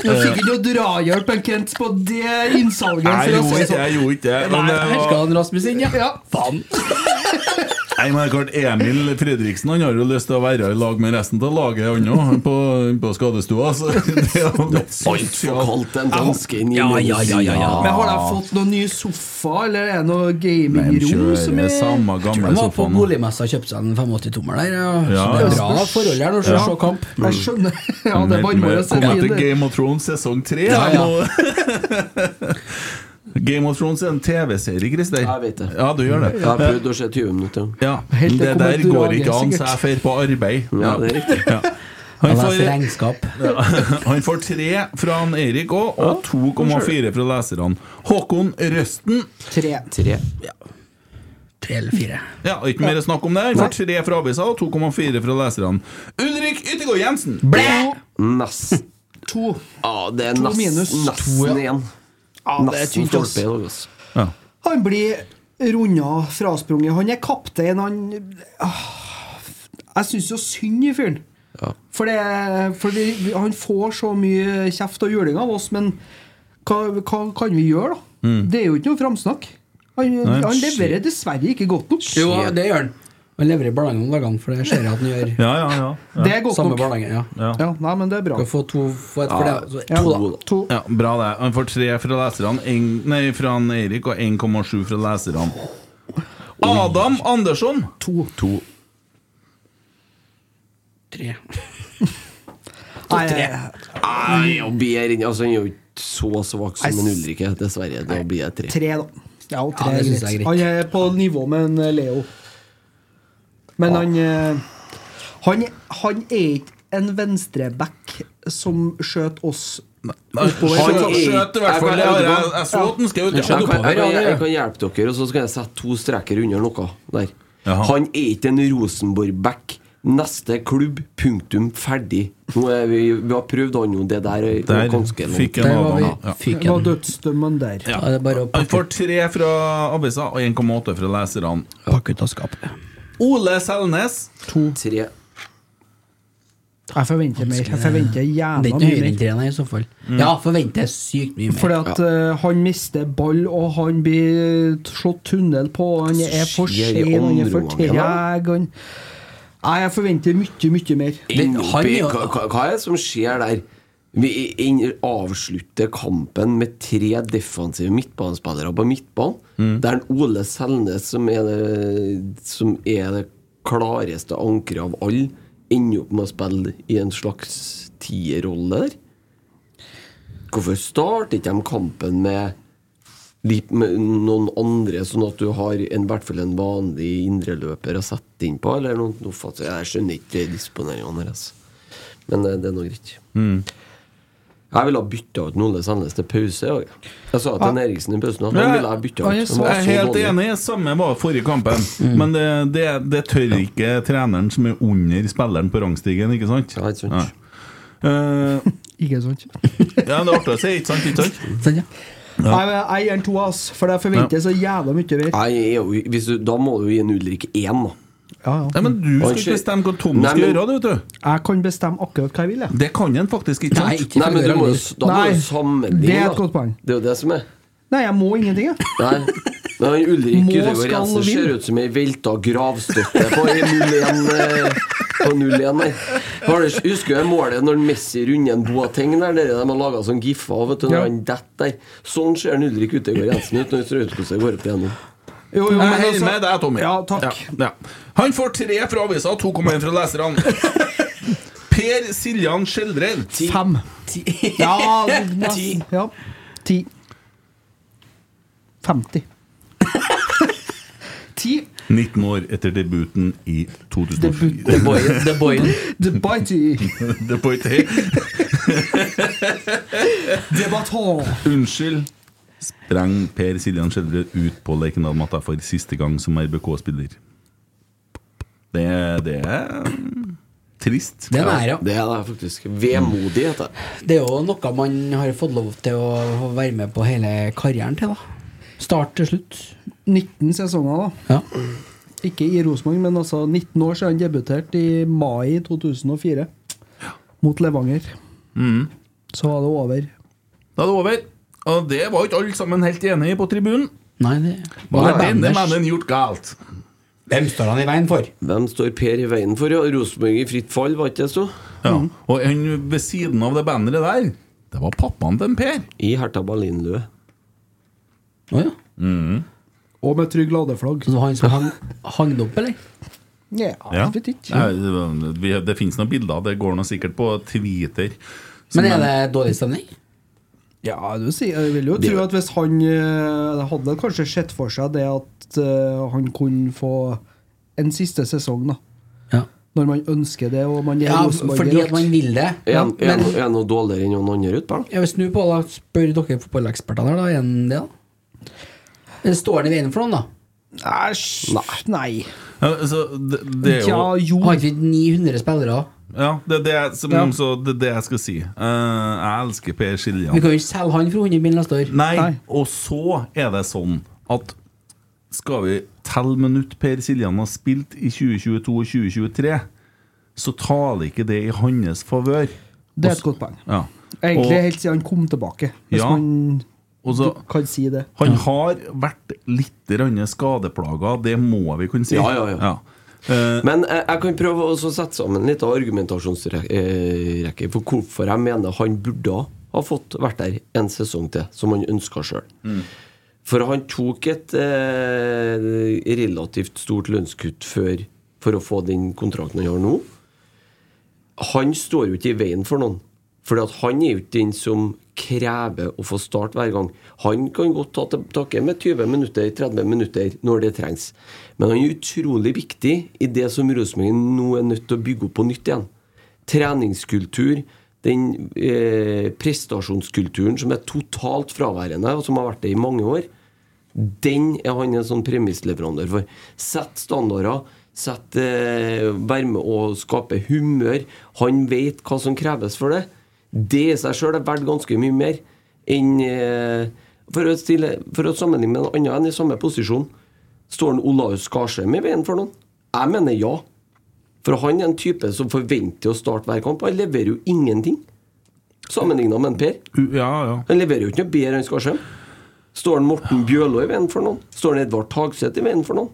D: Du fikk ikke noe drahjelp av Kent på det innsalget.
A: Jeg
D: for å
A: gjorde
D: si det
A: ikke
D: sånn.
A: jeg gjorde ikke det.
C: Nei,
A: men det
C: her
A: var-
C: skal han Rasmus inn, ja.
D: Ja.
C: Faen.
A: Nei, men det er klart, Emil Fredriksen Han har jo lyst til å være i lag med resten av laget Han òg, på, på skadestua. Så det er jo
B: Altfor kaldt en danske inn i
C: Ja, ja, ja, ja, ja.
D: Men har de fått noen ny sofa, eller er det noe
A: De
D: gamingrom som
A: kjører
D: er
A: samme gamle
C: Han var på
A: sofaen.
C: boligmessa og kjøpte seg en 85-tommer der. Ja. Så
A: Ja,
C: det er
A: ja. Mm.
C: bra forhold her når du
D: Ja.
C: ser kamp.
D: Jeg skjønner. Ja, det er varmere å se
A: Kommer til
D: inn.
A: Game of Thrones sesong tre.
C: Ja, ja.
A: nå. (laughs) Game of Thrones er en TV-serie, Christer.
B: Jeg vet det.
A: Ja, du gjør det.
B: Jeg har prøvd å se 20 minutter.
A: Ja,
D: Helt til
A: Det
D: kommer
A: der
D: til
A: går
D: dragen,
A: ikke an,
D: sikkert.
A: så jeg drar på arbeid.
B: Ja, det er riktig. (laughs)
A: Ja.
C: Jeg
A: Han
C: leser
A: får, (laughs)
C: regnskap.
A: han får tre fra han Erik òg, og 2,4 fra leserne. Håkon Røsten
D: Tre.
B: Tre.
C: Tre eller fire.
A: Ja, og ikke mer snakk om det. Vi får tre fra avisa og 2,4 fra leserne. Ulrik Yttergård Jensen!
B: Nest.
D: To.
B: Ja, det er nest,
D: minus.
B: nesten igjen.
D: Ja, det er
B: Nesten
D: tynt, ass.
B: stolpe i dag, altså.
A: Ja.
D: Han blir runda frasprunget. Han er kaptein, han Ah, Jeg syns jo synd i fyren.
B: Ja.
D: For, det, for vi- han får så mye kjeft og juling av oss, men hva, hva kan vi gjøre, da?
B: Mm.
D: Det er jo ikke noe framsnakk. Han, han leverer dessverre ikke godt nok.
C: Jo, det gjør han. Han leverer i barnehagen om dagene, for det ser jeg at han (laughs) gjør.
A: Ja, ja, ja.
D: Det er godt
C: Samme
D: nok.
C: barnehagen, ja.
D: Ja, nei, men det er bra.
C: Skal få to, få et for det.
B: altså
C: Så,
D: Ja,
C: to, da.
D: to.
A: Ja, Bra, det. Han får tre fra leserne, en- nei, fra han Erik og 1,7 fra leserne. Adam Andersson!
D: to.
C: Tre.
D: Nei,
B: Nei, og bedre inn Altså, han er jo ikke så svak som en Ulrik er, dessverre. Da blir jeg tre.
D: tre, da. Ja, og
C: Ja,
D: tre
C: det
D: er
C: synes
D: greit.
C: jeg er greit.
D: Han er på nivå med en eh, Leo. Men han eh, Han, han er ikke en venstreback som skjøt oss
A: Han
D: Han-
A: skjøt i hvert fall. Jeg, jeg, jeg så at han skjøt.
B: Jeg kan,
A: Ja.
B: jeg, kan, jeg kan hjelpe dere, og så skal jeg sette to streker under noe der.
A: Jaha.
B: Han er ikke en Rosenborg-back. Neste klubb, punktum, ferdig. Nå er vi, vi har prøvd han jo, det der er
A: Der
B: ganske langt.
A: fikk han
D: Der var
A: avgang.
D: vi.
A: Ja.
D: Det var dødsdømmen der.
A: Ja.
C: Da er det bare å
A: Han
C: pakke,
A: får tre fra avisa og 1,8 fra leserne.
C: pakke ut av skapet.
A: Ole Selnes.
B: Tre.
D: Jeg forventer mer. Jeg forventer
C: Det er
D: jævla
C: ikke noe
D: mye
C: høyere enn
D: mer.
C: treeren i så fall. Ja, forventer sykt mye mer.
D: Fordi at eh, han mister ball, og han blir slått tunnel på, og han er for
B: Skjer i
D: sen, han er for
B: området,
D: treg
B: ja.
D: han... Nei, jeg forventer mye, mye mer.
B: Inn
C: han
B: oppi-
C: jo-
B: hva, hva- hva er det som skjer der? Vi inn- avslutter kampen med tre defensive midtbanespillere på midtbanen. Det er en Ole Selnes som er det, som er det klareste ankeret av alle. Ender opp med å spille i en slags tierrolle der. Hvorfor starter ikke de kampen med litt med noen andre, sånn at du har en, i hvert fall en vanlig indreløper å sette inn på? Eller noe, noe fatt- jeg skjønner ikke disponeringene deres. Men eh, det er nå greit.
A: Mm.
B: Jeg ville ha bytta ut Ole Sandnes til pause. og Jeg sa til Eriksen i pausen at han
A: Ja,
B: ville jeg bytta ut.
D: ja, jeg Mm.
B: Han var
A: Jeg er
B: så
A: helt
B: dårlig.
A: enig. Samme var forrige kampen. Men det, det, det tør ikke treneren som er under spilleren på rangstigen, ikke sant?
B: Ja, ikke sant.
A: Nei. Eh,
D: Ikke sant?
A: ja, det er artig å si, ikke sant? Ikke sant?
C: Sånn, ja.
D: Nei, men Jeg gir han to, ass, for jeg forventer så jævla mye mer.
B: Nei, jeg er jo- hvis du, da må du gi en Ulrik én, da.
D: Ja, ja.
A: Nei, men du skal ikke
B: Unnskyld.
A: bestemme hva Tom
B: Nei,
A: skal
B: men-
A: gjøre, du, vet du.
D: Jeg kan bestemme akkurat hva jeg vil, jeg.
A: Det kan han faktisk ikke.
C: Nei,
A: sant?
C: ikke
B: Nei, men du må jo,
C: for
B: s- da må
D: Nei,
B: du sammenligne.
D: eh, det er et
B: da.
D: godt poeng.
B: Det er jo det som er.
D: Nei, jeg må ingenting,
B: (laughs)
D: jeg.
B: Nei. Men han Ulrik
D: Må,
B: Rødegård
D: skal
B: Jensen
D: og vil.
B: altså. ser ut som ei velta gravstøtte på 0-1. eh, På 0-1 der. Anders, Husker du det målet når Messi runder en Boateng der? Dere de har laga sånn gif av, vet du, når
D: Ja.
B: han detter der. Sånn ser han Ulrik Utegård Jensen ut når Strømsgodset går opp igjennom.
D: Jo, jo,
A: Jeg er
D: men
A: helt
D: altså-
A: med deg, Tommy.
D: Ja, takk.
A: Ja, ja. Han får tre fra avisa og 2,1 fra leserne. Per Siljan Skjeldrell.
D: Fem. (laughs) Ja, nesten. Ja. Ti.
B: (laughs)
D: 50. Ti.
A: 19 år etter debuten i 2004.
F: The Boyen. The
A: (laughs)
F: Boyen.
D: Debatty.
A: Det får ikke helt.
D: Debattant.
A: Unnskyld. Spreng Per Siljan Skjeldrell ut på Lerkendal-matta for siste gang som RBK-spiller. Det, det er trist.
C: Det er nære, ja.
B: Det er det faktisk. Vemodig, heter det.
C: Det er jo noe man har fått lov til å få være med på hele karrieren til, da. Start til slutt.
D: 19 sesonger, da.
C: Ja.
D: Ikke i Rosenborg, men altså 19 år siden han debuterte i mai 2004 mot Levanger. Så var det over.
A: Da er det over. Og det var ikke alle sammen helt enig i på tribunen.
C: Nei, det
A: Hva
C: Hva
A: har denne
C: Benders-
A: mannen gjort galt?
C: Hvem står han i veien for?
B: Hvem står Per i veien for? ja? Rosenborg i fritt fall, var ikke det så?
A: Ja.
C: Mhm.
A: Og han ved siden av det banneret der, det var pappaen til en Per.
B: I Hertha Berlinløe.
C: Å ja.
A: Mhm.
D: Og med trygg ladeflagg.
C: Så det var han som hang, hang det opp, eller?
D: Ja, jeg vet ikke.
A: Nei, det var- vi- det finnes noen bilder, det går nå sikkert på Twitter. Så,
C: Men er det dårlig stemning?
D: Ja, du sier, jeg vil jo tro at hvis han eh, hadde kanskje sett for seg det at eh, han kunne få en siste sesong, da.
C: Ja.
D: Når man ønsker det, og man er
C: ja
D: Rosenborg
C: fordi at man vil det.
B: Er
C: Ja,
B: han er
C: men
B: han- er han noe dårligere enn noen andre utpå?
C: jeg vil snu på da spør dere fotballekspertene her, da. Er han det, da? Eller står han i veien for noen, da?
D: Æsj, nei.
A: ja, så det, det er
D: Ja,
A: jo
D: jo.
C: Har ikke vi 900 spillere? da?
A: Ja, det er det, jeg- som,
D: Ja.
A: Så det, er det jeg skal si. Eh, jeg elsker Per
C: Vi
A: Siljan.
C: kan jo ikke selge han for 100 mill. neste år.
A: Nei,
D: Nei.
A: og så er det sånn at skal vi telle minutt Per Siljan har spilt i 2022 og 2023, så taler ikke det i hans favør.
D: Det er et godt poeng.
A: Ja.
D: Egentlig
A: Og-
D: helt siden han kom tilbake, hvis
A: Ja.
D: man
A: Og så,
D: kan si det.
A: han har vært litt grann skadeplaga, det må vi kunne si.
B: Ja, ja, ja.
A: Eh,
B: Men jeg, jeg kan prøve å også sette sammen litt av argumentasjonsrekke for hvorfor jeg mener han burde ha fått vært der en sesong til, som han ønska sjøl. For han tok et eh, relativt stort lønnskutt før for å få den kontrakten han har nå. Han står jo ikke i veien for noen. For han er jo ikke den som krever å få start hver gang. Han kan godt ta til takke med 20 minutter, 30 minutter, når det trengs. Men han er utrolig viktig i det som Rosenborg nå er nødt til å bygge opp på nytt igjen. Treningskultur, den eh, prestasjonskulturen som er totalt fraværende, og som har vært det i mange år. Den er han en sånn premissleverandør for. Sett standarder, sette, eh, være med og skape humør. Han vet hva som kreves for det. Det i seg sjøl er verdt ganske mye mer enn eh, for, å stille, for å sammenligne med en annen enn i samme posisjon. Står han Olaus Skarsheim i veien for noen? Jeg mener ja. For han er en type som forventer å starte hver kamp. Han leverer jo ingenting. Sammenligna med en Per.
A: Ja, ja.
B: Han leverer jo ikke noe bedre enn Skarsheim. Står han Morten Bjørlo i veien for noen? Står han Edvard Tagseth i veien for noen?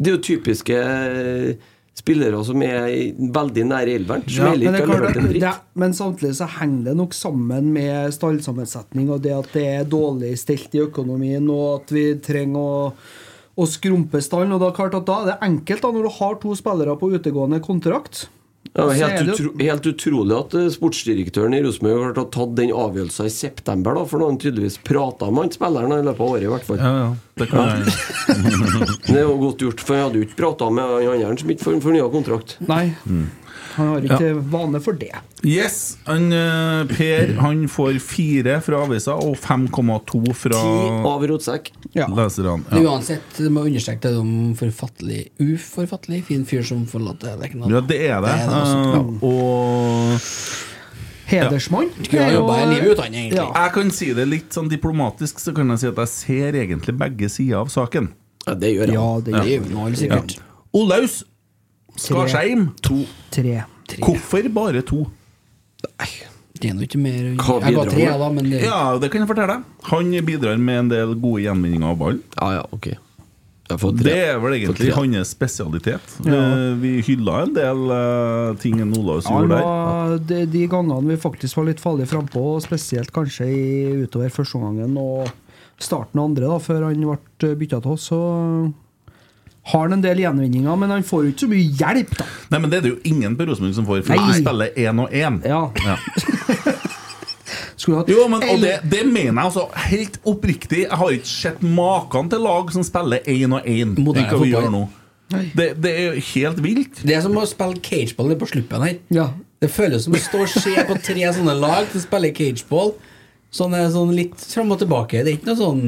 B: Det er jo typiske eh, spillere som er i- veldig nær elveren. Som
D: Ja,
B: heller
D: men, det
B: ikke
D: er
B: har
D: klart,
B: levert en
D: det,
B: dritt.
D: er- men samtidig så henger det nok sammen med stallsammensetning og det at det er dårlig stelt i økonomien, og at vi trenger å, å skrumpe stallen. Og det er klart at da er det enkelt, da, når du har to spillere på utegående kontrakt.
B: Ja,
D: så er
B: helt,
D: det jo-
B: utro, helt utrolig at eh, sportsdirektøren i Rosenborg har klart å tatt den avgjørelsen i september, da, for nå har han tydeligvis prata med han spilleren i løpet av året, i hvert fall.
A: ja, ja. Det kan jeg.
B: (laughs) Det er jo godt gjort, for han hadde jo ikke prata med han andre som ikke får fornya kontrakt.
D: Nei, han har ikke vane for det.
A: Yes! Han, eh, per han får fire fra avisa og 5,2 fra
B: Ti av rotsekk.
D: Ja.
A: leserne.
C: Men
A: Ja.
C: uansett, det må understreke det om forfattelig, uforfattelig fin fyr som forlater Lerkendal.
A: ja, det er det.
C: Det altså. er det også.
A: Eh, og
D: Hedersmann.
C: Skulle ha
D: er jo-
C: jobba livet ut, han, egentlig.
D: Ja.
A: jeg kan si det litt sånn diplomatisk, så kan jeg si at jeg ser egentlig begge sider av saken.
B: Ja, det gjør han.
D: Ja, det
C: Det
D: er
C: er jo noe, sikkert.
A: Olaus Skarsheim, to.
D: tre.
A: Hvorfor bare to?
C: Det er nå ikke mer
B: Hva
C: Jeg ga
B: bidrar
C: tre,
B: han med?
C: da, men det
A: Ja, det kan jeg fortelle deg. Han bidrar med en del gode gjenvinninger av ballen.
B: Ja, ja, ok. Jeg får
A: Det
B: tre.
A: er vel egentlig
B: For tre.
A: hans spesialitet. Eh, Vi hylla en del eh, ting enn Olaus
D: Han
A: gjorde der.
D: var, de, de gangene vi faktisk var litt farlige frampå, og spesielt kanskje i, utover førsteomgangen og starten av andre, da, før han ble bytta til oss, så har han en del gjenvinninger, men han får jo ikke så mye hjelp, da.
A: Nei, men det er det jo ingen på Rosenborg som får, for
D: Nei.
A: de spiller én og én.
D: Ja.
A: Ja.
D: Skulle hatt
A: Jo, men og
D: elleve-
A: det, det mener jeg altså helt oppriktig. Jeg har ikke sett maken til lag som spiller én og én.
C: Moderne
A: Ikke hva vi
C: fotball.
A: gjør nå. Det, det er jo helt vilt.
C: Det er som å spille cageball på sluppen her.
D: Ja.
C: Det føles som å stå og se på tre sånne lag som spiller cageball. Sånn, er sånn litt fram og tilbake. Det er ikke noe sånn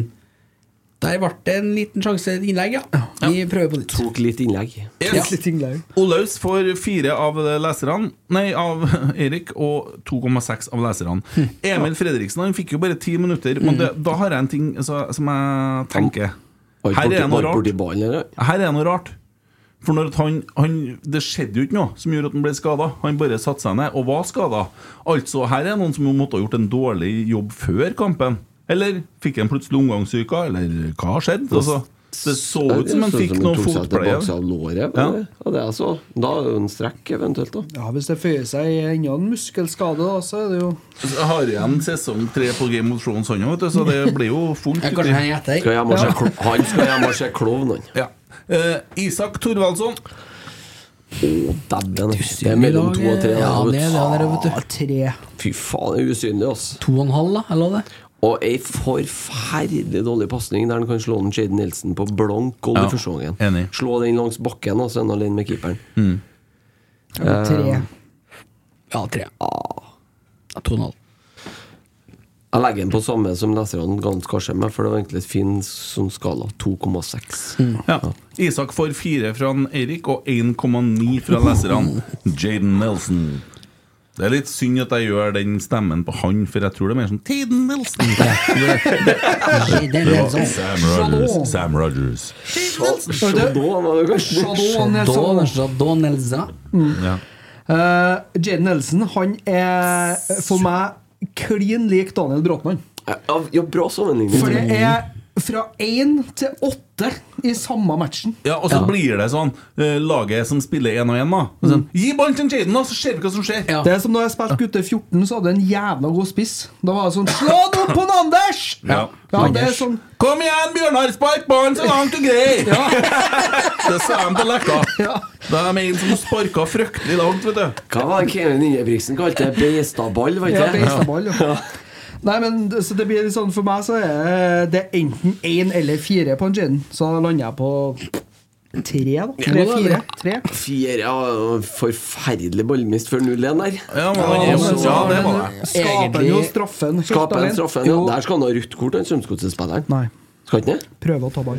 C: Der ble det en liten sjanse til innlegg, ja. Vi prøver på nytt.
B: Tok litt innlegg.
C: Ja.
D: Litt innlegg.
A: Olaus får fire av leserne Nei, av (laughs) Erik og 2,6 av leserne. Emil Fredriksen han fikk jo bare ti minutter, men det, da har jeg en ting så, som jeg tenker
B: Var
A: Her er
B: borti-
A: det noe
B: var borti
A: rart.
B: ballen, eller?
A: Her er det noe rart. For når at han, han, det skjedde jo ikke noe som gjorde at han ble skada. Han bare satte seg ned og var skada. Altså, her er noen som jo måtte ha gjort en dårlig jobb før kampen. Eller fikk han plutselig omgangssyke, eller hva har skjedd? Altså, det så
B: Ja,
A: ut som han
B: sånn
A: fikk noe
B: tok seg
A: fotpleie.
B: tilbake av låret,
A: Ja.
B: men det- ja, det er så. Da er det jo en strekk, eventuelt. da
D: Ja, hvis det føyer seg i enda en muskelskade, da, så er det jo
A: Jeg har igjen sesong tre på Game of Thrones, han, vet du, så det blir jo fullt.
C: Ja, Kanskje han er
B: Skal
C: etter.
B: hjem og se klo- Han skal hjem og se klovn, han.
A: Ja. Eh, Isak Thorvaldsson.
B: Dæven. Det er mellom to og tre.
C: Ja,
B: da, vet du.
C: det er det der, vet du.
D: tre.
B: Fy faen, det er usynlig, ass.
C: To og en halv, da? Eller hva det?
B: Og ei forferdelig dårlig pasning der han kan slå den Jaden Nilsen på blank gold
A: Ja,
B: i første gangen.
A: enig. Mm.
B: Slå den langs bakken, altså, en alene med keeperen.
D: Ja,
B: Eh.
D: tre.
C: Ja, tre. Ja, To og en halv.
B: Jeg legger den på samme som leserne ga kanskje meg, for det var egentlig et fin sånn skala. 2,6.
A: Ja. Isak får fire fra han Erik og 1,9 fra
C: Mm.
A: leserne. Jaden Nelson. Det er litt synd at jeg gjør den stemmen på han, for jeg tror det er mer sånn Tiden Nelson.
C: Nei, det er litt sånn.
A: Sam Rogers. Sam Rogers.
B: Chardon, var det kanskje?
D: Chardon, Nelson.
C: Don- Don Elza.
A: Ja.
D: Eh, Jaden Nelson han er for meg klin lik Daniel Bråtmann.
B: Ja, Eh, ja, bra sammenligning.
D: For det er fra én til åtte i samme matchen.
A: Ja, og så blir det sånn eh, Laget som spiller én og én, da. Og Sånn, Gi ballen til Jaden, da, så ser vi hva som skjer.
C: Mm. Ja.
D: Det er som da jeg spilte gutter 14, så hadde jeg en jævla god spiss. Da var det sånn Slå den opp på en Anders!
A: Ja.
D: det er
C: Anders.
D: sånn
A: Kom igjen, Bjørnar, spark ballen så langt du
D: (laughs)
A: greier! (laughs) Det sa de på Leka. Det er en som sparka fryktelig langt, vet du.
B: Hva var det Kevin Ingebrigtsen kalte det? Beistaball, var
D: Ja,
B: ikke det?
D: beistaball, ja. Nei, men det- så det blir litt sånn For meg så er det enten én eller fire på en Jaden. Så da lander jeg på tre, da. Tre, fire. Tre.
B: Fire ja, Forferdelig ballmist før 0-1 der.
A: Ja, men, han er jo-
B: men så-
A: ja, det var det.
D: Skaper han jo straffen. først
B: Skape en
D: alene?
B: straffe. Ja, der skal han ha rødt kort, den Strømsgodset-spilleren.
D: Nei.
B: Skal han ikke det?
D: Prøve å ta ball.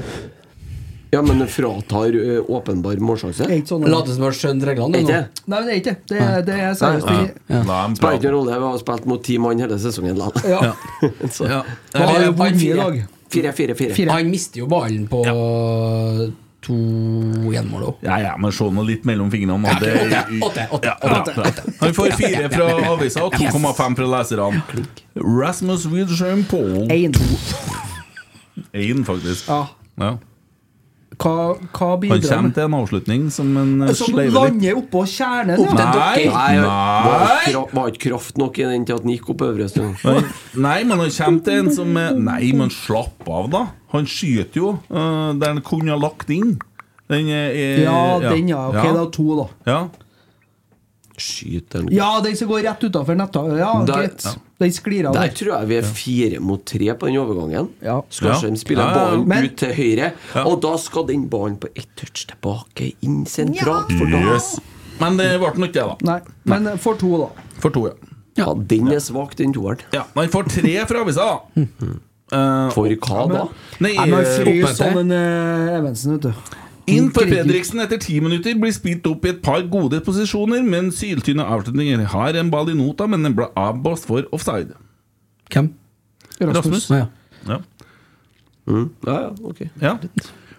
B: Ja, men det fratar ø, åpenbar målsjanse?
D: Det er ikke sånn
C: Late som du har skjønt reglene.
B: Ikke?
C: nå.
D: Nei, men det er ikke det. det. er- Det er seriøst ikke
A: Nei, men
B: Spiller ikke
A: bra.
B: noen rolle, vi har spilt mot ti mann hele sesongen likevel.
D: Ja.
B: (laughs) Så,
A: Ja.
D: Han har jo
C: Han
D: vunnet i
C: fire.
D: dag.
B: Fire, fire, fire.
D: Fire.
C: Han mister jo ballen på to gjenmål òg.
A: Ja, ja, men se nå litt mellom fingrene. Og det,
C: Ja, åtte, åtte,
A: Ja, ja,
C: åtte,
A: ja. Han får fire fra avisa og 2,5 fra leserne. Rasmus Widsham Pohl.
D: Én.
A: Én, faktisk.
D: Ja.
A: Ja.
D: Hva, hva
A: Han
D: bidrar
A: kommer til en avslutning som en eh,
D: Som
A: sleiver litt.
D: lander oppå kjernen. ja.
A: Nei,
B: Nei, var ikke
A: nei.
B: kra- var ikke kraft nok i den til at den gikk opp øvre stund.
A: Nei, men han kommer til en som eh, Nei, men slapp av, da. Han skyter jo eh, der han kunne ha lagt inn. Den er
D: Ja, den, ja. Ok, da to, da.
A: Ja.
B: Skyter den
D: Ja, den som går rett utafor netta. Ja,
B: Der-
D: greit. Den sklir av.
B: Der tror jeg vi er fire mot tre på den overgangen.
D: Ja.
B: Skarsheim
A: Ja.
B: spiller
A: Ja, ja, ja.
B: ballen
D: Men-
B: ut til høyre,
A: Ja.
B: og da skal den ballen på ett touch tilbake inn sentralt. For da
A: Yes. Men det ble den ikke, da.
D: Nei, men eh, for to, da.
A: For to, ja.
B: Ja, den er svak, den toeren.
A: ja. Men han får tre fra avisa,
B: (laughs)
A: da. Eh,
B: For hva da?
A: Nei,
D: Nei, men
A: eh,
D: frys
C: oppmøte.
D: sånn en eh, Evensen, vet du.
A: Inn for Fredriksen etter ti minutter blir spilt opp i et par gode posisjoner, men syltynne avslutninger har en ball i nota, men den ble avblåst for offside.
C: Hvem?
A: Rasmus?
C: Å, ja.
A: Ja.
B: Ja, ja, ok.
C: (laughs)
A: Ja.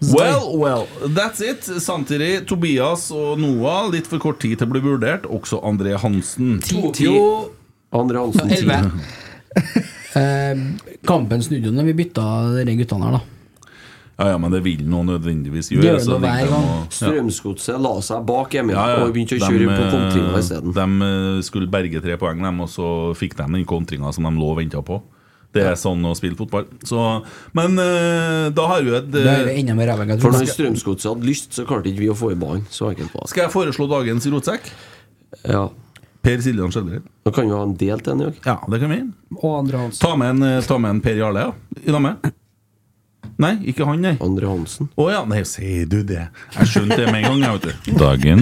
A: Well, well, that's it. Samtidig Tobias og Noah litt for kort tid til å bli vurdert. Også André Hansen.
C: Tok
B: Ti.
C: jo
B: Andre Hansen. ti.
C: elleve. eh, kampen snudde jo når vi bytta de guttene her, da.
A: Ja, ja, men det vil noe nødvendigvis
C: Det
A: gjøre.
C: gjør
A: så
C: det hver
A: ligger de
C: gang.
A: og- ja.
B: Strømsgodset la seg bak Emil
A: Ja, ja.
B: og begynte
A: De,
B: å kjøre på
A: eh,
B: kontringa isteden.
A: De eh, skulle berge tre poeng, dem, og så fikk de den kontringa som de lå og venta på. Det er sånn å spille fotball. Så, men eh, da har vi et
C: Det er jo
A: eh,
C: enda mer rævegg. jeg
B: For
C: tror.
B: når Strømsgodset hadde lyst, så klarte ikke vi å få i ballen. Så enkelt var det.
A: Skal jeg foreslå dagens rotsekk?
B: Ja.
A: Per Siljan Skjelbred.
B: Da kan vi ha en del til en i dag.
A: Ja, det kan vi.
D: Og andre Hansen.
A: Ta med en, eh, ta med en Per Jarle, ja. I lag med. Nei, ikke han, nei.
B: Andre Hansen.
A: Å ja, nei, sier du det? Jeg skjønte det med en gang, jeg, vet du. Dagen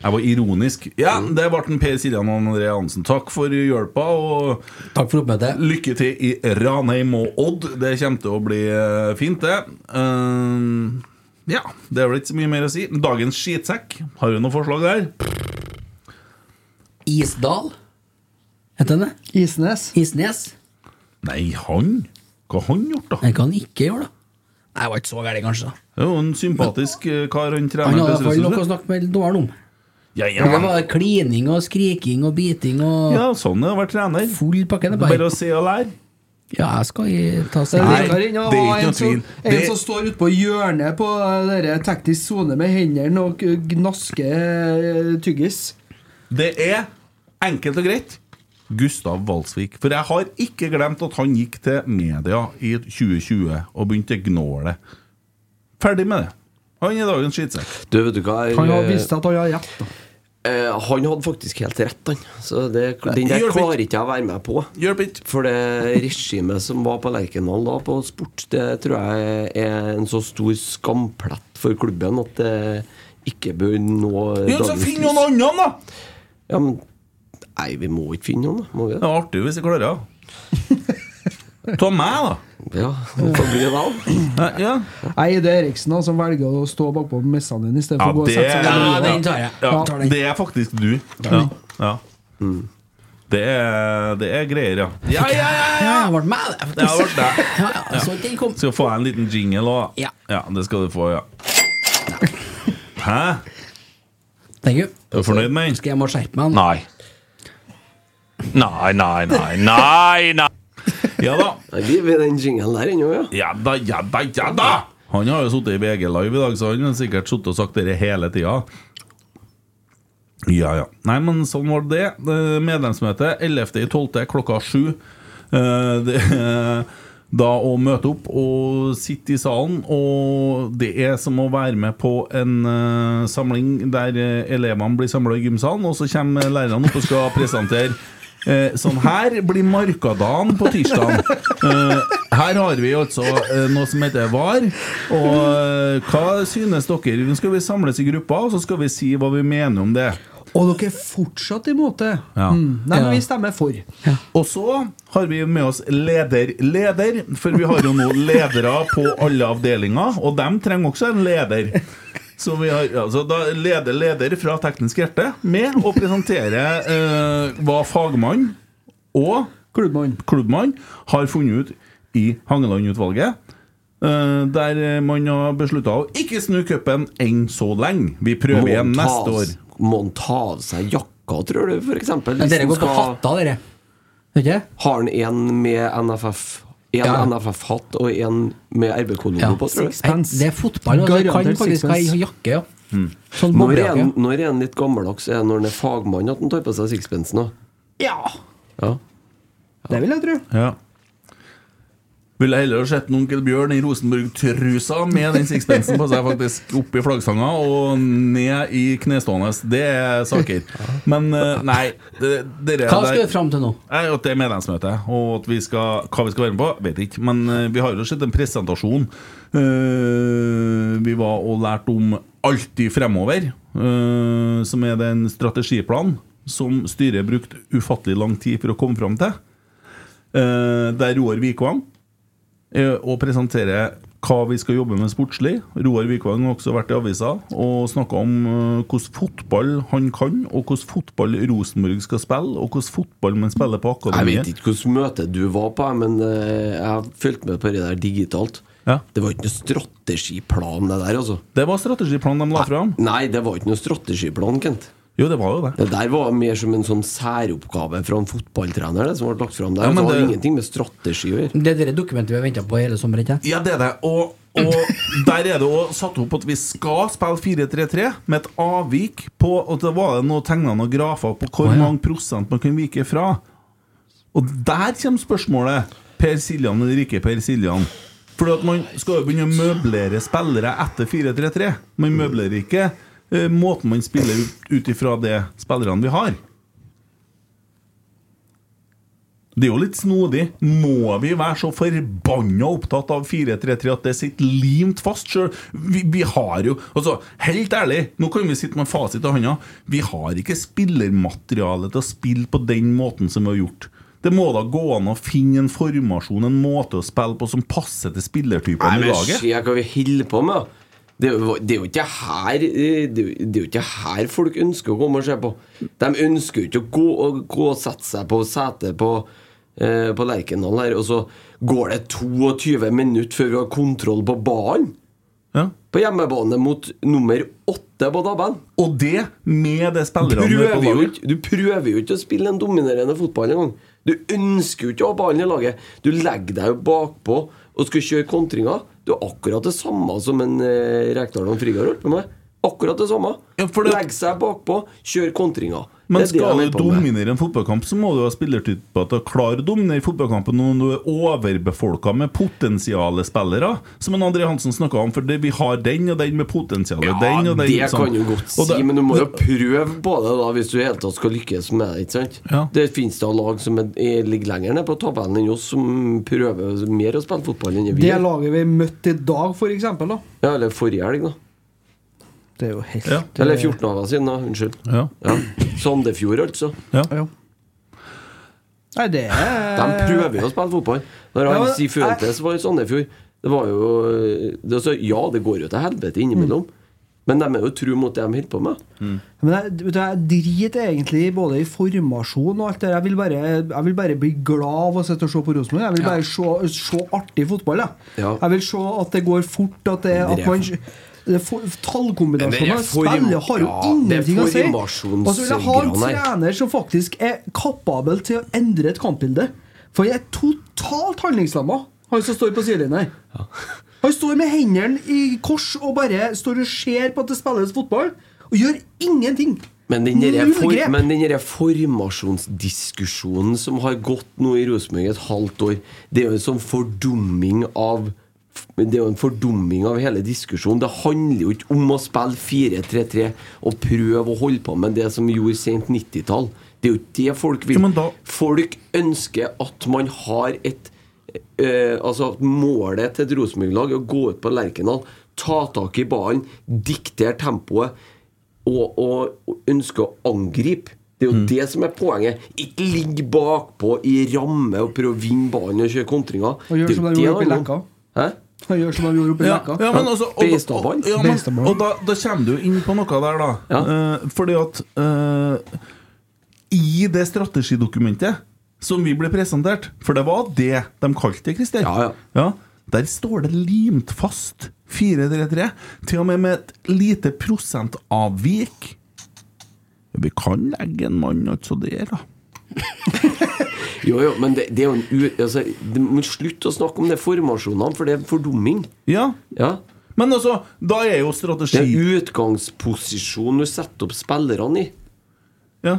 A: Jeg var ironisk. Ja,
B: Mm.
A: det ble den Per Siljan og André Hansen. Takk for hjelpa, og
C: Takk for oppmøtet.
A: lykke til i Ranheim og Odd. Det kommer til å bli eh, fint, det. Ehm, ja, det er vel ikke så mye mer å si. Dagens skitsekk. Har du noe forslag der?
C: Isdal? Heter den det?
D: Isnes.
C: Isnes?
A: Nei, han? Hva har han gjort, da?
C: Den kan han ikke gjøre, da. Nei, det var ikke så gærent, kanskje. da
A: Det er jo en sympatisk eh, kar, han
C: Han
A: treneren.
C: hadde i
A: til
C: hvert fall noe å
A: Strømsgodset.
C: snakke med dommeren om.
A: Ja, ja,
C: Og Det
A: men-
C: var klining og skriking og biting og
A: ja, sånn er det å være trener.
C: full pakke. Det er
A: Bare
C: bare
A: å se og lære.
C: Ja, jeg skal i- ta
D: Det
C: seg
D: er
A: Nei,
D: litt verre enn å
A: det er
D: ha
A: ikke
D: en
A: noe
D: som-
A: tvil.
D: En
A: Det-
D: som står utpå hjørnet på eh, dere teknisk sone med hendene og eh, gnasker eh, tyggis.
A: Det er enkelt og greit Gustav Valsvik. For jeg har ikke glemt at han gikk til media i 2020 og begynte å gnåle. Ferdig med det. Han er dagens skittsekk.
B: Du, vet du hva? jeg-
D: Han har visst at han har rett. da
B: Eh, han hadde faktisk helt rett, han. Så det, den der
A: Hjelp ikke.
B: klarer ikke jeg å være med på.
A: Hjelp ikke.
B: For det regimet som var på Lerkendal da, på sport, det tror jeg er en så stor skamplett for klubben at det ikke bør nå
A: Ja, så
B: dagens
A: finn
B: lys.
A: noen annen, da!
B: Ja, men Nei, vi må ikke finne noen, da. Må vi
A: Det
B: det?
A: er artig hvis jeg
B: (laughs)
A: klarer det. Ta meg, da.
B: Ja, det får bli det, da.
A: Nei, Ja,
D: Nei, det er Eriksen da, som velger å stå bakpå messene dine
A: ja
D: istedenfor å gå og
A: det,
D: sette seg
C: Ja,
D: ned.
C: den tar jeg.
A: ja,
C: Jeg tar den.
A: det er faktisk du. Ja, ja. Det, er, det er greier, ja. Ja, ja, ja!
C: Ja, jeg ble med,
A: Det
C: det.
A: har vært det.
C: (laughs) Ja, ja, jeg så ikke den kom.
A: Skal få en liten jingle òg?
C: Ja.
A: Det skal du få, ja. Hæ?
C: Thank you.
A: Er du fornøyd med den?
C: Skal jeg må skjerpe meg? nå?
A: Nei. Nei, nei, nei, nei, nei.
C: (laughs)
A: Ja da.
B: Nei, vi er ved den jingelen der ennå, ja.
A: Ja da, ja da, ja da! Han har jo sittet i VG Live i dag, så han har sikkert sittet og sagt dette hele tida. Ja, ja. Nei, men sånn var det. Eh, Medlemsmøte 11.12. klokka sju. Eh, det (laughs) er Da å møte opp og sitte i salen, og det er som å være med på en eh, samling der eh, elevene blir samla i gymsalen, og så kommer lærerne opp og skal presentere. Eh, sånn her blir markadagen på tirsdag. Eh, her har vi altså eh, noe som heter VAR. Og eh, hva synes dere? Nå skal vi samles i grupper, og så skal vi si hva vi mener om det.
D: Og dere er fortsatt imot det?
A: Ja.
D: Mm. Nei, men
C: Ja.
D: vi stemmer for.
A: Og så har vi med oss leder, leder, for vi har jo nå ledere på alle avdelinger, og dem trenger også en leder. Så vi har altså, da leder leder fra Teknisk hjerte med å presentere eh, hva fagmann og
D: Klubbmann.
A: klubbmann har funnet ut i Hangeland-utvalget. eh, der man har beslutta å ikke snu cupen enn så lenge. Vi prøver igjen neste år.
B: Monta av seg jakka, tror du, for eksempel?
C: Men
B: hvis
C: dere
B: den
C: går på
B: skal-
C: hatta, dere. Vet ikke?
B: Har han en med NFF? En
C: Ja.
B: NFF-hatt og en med RBK-logo
C: Ja.
B: på, tror jeg.
C: Nei, det er fotball. Og det kan
D: Garantert
C: faktisk ha
D: sixpence.
C: jakke, ja.
B: Når er,
C: Sånn boblejakke.
B: en, når er en litt gammeldags? Er det når han er fagmann at han tar på seg sixpensen òg?
D: Ja,
B: Ja.
D: det vil jeg tro.
A: Ja. Ville heller sett en onkel Bjørn i Rosenborg-trusa med den sixpensen på seg, faktisk. Opp i flaggstanga og ned i knestående. Det er saker. Men eh, nei, det, det
C: Hva skal du fram til nå?
A: Nei, at det er medlemsmøte, og at vi skal, hva vi skal være med på, vet jeg ikke. Men eh, vi har jo sett en presentasjon. Eh, vi var og lærte om Alltid fremover, eh, som er den strategiplanen som styret brukte ufattelig lang tid for å komme fram til. Eh, der Roar Vikvang eh, og presenterer hva vi skal jobbe med sportslig. Roar Vikvang har også vært i avisa og snakka om eh, hvordan fotball han kan, og hvordan fotball Rosenborg skal spille, og hvordan fotball man spiller på
B: Jeg vet
A: akademiet.
B: ikke hvilket møte du var på, men eh, jeg har fulgt med på det der digitalt.
A: Ja.
B: Det var ikke noe strategiplan, det der, altså.
A: Det var strategiplanen de la fram.
B: Nei, det var ikke noe strategiplan, Kent.
A: Jo, det var jo det.
B: Det der var mer som en sånn særoppgave fra en fotballtrener, det som ble lagt fram
A: Ja,
B: der.
A: men
B: det har
A: det-
B: ingenting med strategi å gjøre.
C: Det er det dokumentet vi har venta på hele sommeren. ikke?
A: Ja, det er det. Og, og der er det òg satt opp at vi skal spille 4-3-3, med et avvik på at det var noe tegna noen grafer på hvor
C: Å, ja.
A: mange prosent man kan vike fra. Og der kommer spørsmålet. Per Siljan eller ikke Per Siljan? Fordi at man skal jo begynne å møblere spillere etter 4-3-3. Man møblerer ikke eh, måten man spiller ut- ut ifra det spillerne vi har. Det er jo litt snodig. Må vi være så forbanna opptatt av 4-3-3 at det sitter limt fast sjøl? Vi, vi har jo Altså, helt ærlig, nå kan vi sitte med fasit i hånda. Vi har ikke spillermateriale til å spille på den måten som vi har gjort. Det må da gå an å finne en formasjon, en måte å spille på som passer til
B: Nei,
A: spillertypene i
B: men
A: laget.
B: se hva vi holder på med, da. Det, er jo- det er jo ikke her eh, Det er jo- det er jo ikke her folk ønsker å komme og se på. De ønsker jo ikke å gå, å gå og sette seg på setet på, eh, på Lerkendal her, og så går det 22 minutter før vi har kontroll på ballen!
A: Ja.
B: På hjemmebane mot nummer åtte på tabellen.
A: Og det med det spillerne vi har
B: prøver
A: på
B: jo
A: laget.
B: ikke, du prøver jo ikke å spille en dominerende fotball engang. Du ønsker jo ikke å ha ballen i laget. Du legger deg jo bakpå og skal kjøre kontringer. Du er akkurat det samme som en eh, Rekdal og en Frigard holdt på med. Akkurat det samme.
A: Ja, for det-
B: Legg seg bakpå, kjør kontringer.
A: Men
B: det er det
A: skal
B: de
A: du
B: holder på med.
A: dominere en fotballkamp, så må du ha spillertyper til å klare å dominere fotballkampen når du er overbefolka med potensiale spillere, som en André Hansen snakka om. For det, vi har den og den med potensial.
B: Ja,
A: den og den,
B: det
A: sånn.
B: kan du godt si,
A: Og det-
B: men du må jo prøve på det da hvis du i hele tatt skal lykkes med det. ikke sant?
A: Ja.
B: Det finnes da lag som er, er, ligger lenger ned på tabellen enn oss, som prøver mer å spille fotball enn vi
D: Det
B: gjør.
D: laget vi møtte i dag, for eksempel, da.
B: Ja, eller forrige helg, da.
D: Det er jo helt eh,
A: Ja.
B: Eller 14 dager siden, da. Unnskyld.
A: Ja.
B: Ja. Sandefjord, altså.
D: Ja. Nei, det er
B: De prøver jo å spille fotball. Når
D: Eh, Ja,
B: han
D: men-
B: sier Fuentes var i Sandefjord Det var jo det, altså, Ja, det går jo til helvete innimellom,
D: Mm.
B: men de er jo tru mot det de holder på med.
A: Mm.
D: Men jeg, vet du, jeg driter egentlig både i formasjon og alt det der. Jeg vil bare, jeg vil bare bli glad av å sitte og se på Rosenborg. Jeg vil bare se, se artig fotball. Jeg.
B: Ja.
D: jeg vil se at det går fort, at, det,
B: Men
D: at
B: det er
D: man
B: for-
D: det er for-
B: Men det
D: Tallkombinasjoner
B: er for-
D: spillet har jo
B: ja, det er
D: ingenting å si.
B: formasjons-
D: Og så vil jeg ha en
B: greiene her.
D: trener som faktisk er kapabel til å endre et kampbilde. For jeg er totalt handlingslamma, han som står på sidelinja her. Han står med hendene i kors og bare står og ser på at det spilles fotball, og gjør ingenting.
B: Men den der
D: Null
B: for,
D: grep.
B: men den der formasjonsdiskusjonen som har gått nå i Rosenborg et halvt år, det er jo en sånn fordumming av det er jo en fordumming av hele diskusjonen. Det handler jo ikke om å spille 4-3-3 og prøve å holde på med det som vi gjorde sent 90-tall. Det er jo ikke det folk vil.
A: Jo, men da-
B: Folk ønsker at man har et eh, Altså at målet til et Rosenborg-lag er å gå ut på Lerkendal, ta tak i ballen, diktere tempoet og, og ønsker å angripe. Det
A: Mm.
B: er jo det som er poenget. Ikke ligg bakpå i ramme og prøv å vinne ballen og kjøre kontringer.
D: Og gjør
B: Det er jo
D: som de
B: det
D: gjorde oppe i
B: handler om.
D: Leka.
B: Hæ?
D: Han gjør som han gjorde oppi
A: Ja,
D: Leka.
A: ja, men altså, og, og,
B: Beistaball.
A: og, ja, men,
D: Beistaball.
A: og da, da kommer du jo inn på noe der, da.
B: Ja.
A: Eh, fordi at eh, i det strategidokumentet som vi ble presentert For det var det de kalte det, Christer.
B: Ja, ja.
A: der står det limt fast 433. Til og med med et lite prosentavvik. Vi kan legge en mann altså der, da.
B: Jo, jo, men det, det er jo en u... Altså, det må slutte å snakke om de formasjonene, for det er fordumming.
A: Ja.
B: Ja.
A: Men altså, da er jo
B: Det
A: strategi
B: er utgangsposisjonen du setter opp spillerne i.
A: Ja.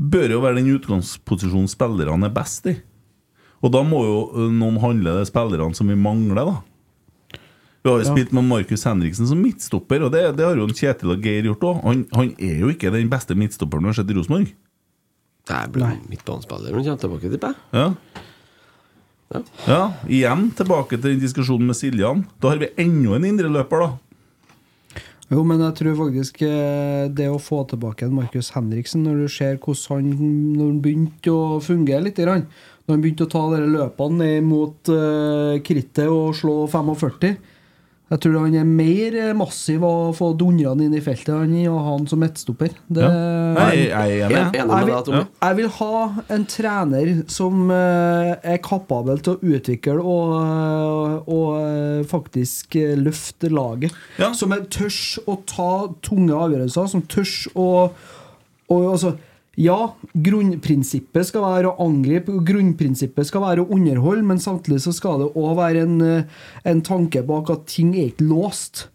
A: Bør jo være den utgangsposisjonen spillerne er best i. Og da må jo ø, noen handle de spillerne som vi mangler, da. Vi har jo spilt med Markus Henriksen som midtstopper, og det, det har jo en Kjetil og Geir gjort òg. Han, han er jo ikke den beste midtstopperen vi har sett i Rosenborg.
B: Der ble midtbanespilleren kommer tilbake, tipper jeg.
A: Ja.
B: Ja.
A: ja. Igjen tilbake til den diskusjonen med Siljan. Da har vi enda en indreløper, da.
D: Jo, men jeg tror faktisk eh, det å få tilbake en Markus Henriksen, når du ser hvordan han når han begynte å fungere litt grann, Når han begynte å ta dere løpene ned mot eh, krittet og slå 45 Jeg tror han er mer eh, massiv å få dundra han inn i feltet enn å ha han som midtstopper. Det,
A: Ja. Jeg, jeg er
B: Jeg
A: enig.
B: er
D: jeg
B: enig med
D: vil,
B: deg, Tommy.
D: jeg vil ha en trener som eh, er kapabel til å utvikle og, og eh, faktisk eh, løfte laget.
A: Ja.
D: Som er tørs å ta tunge avgjørelser, som tørs å og altså, ja, grunnprinsippet skal være å angripe, grunnprinsippet skal være å underholde, men samtidig så skal det òg være en, eh, en tanke bak at ting er ikke låst.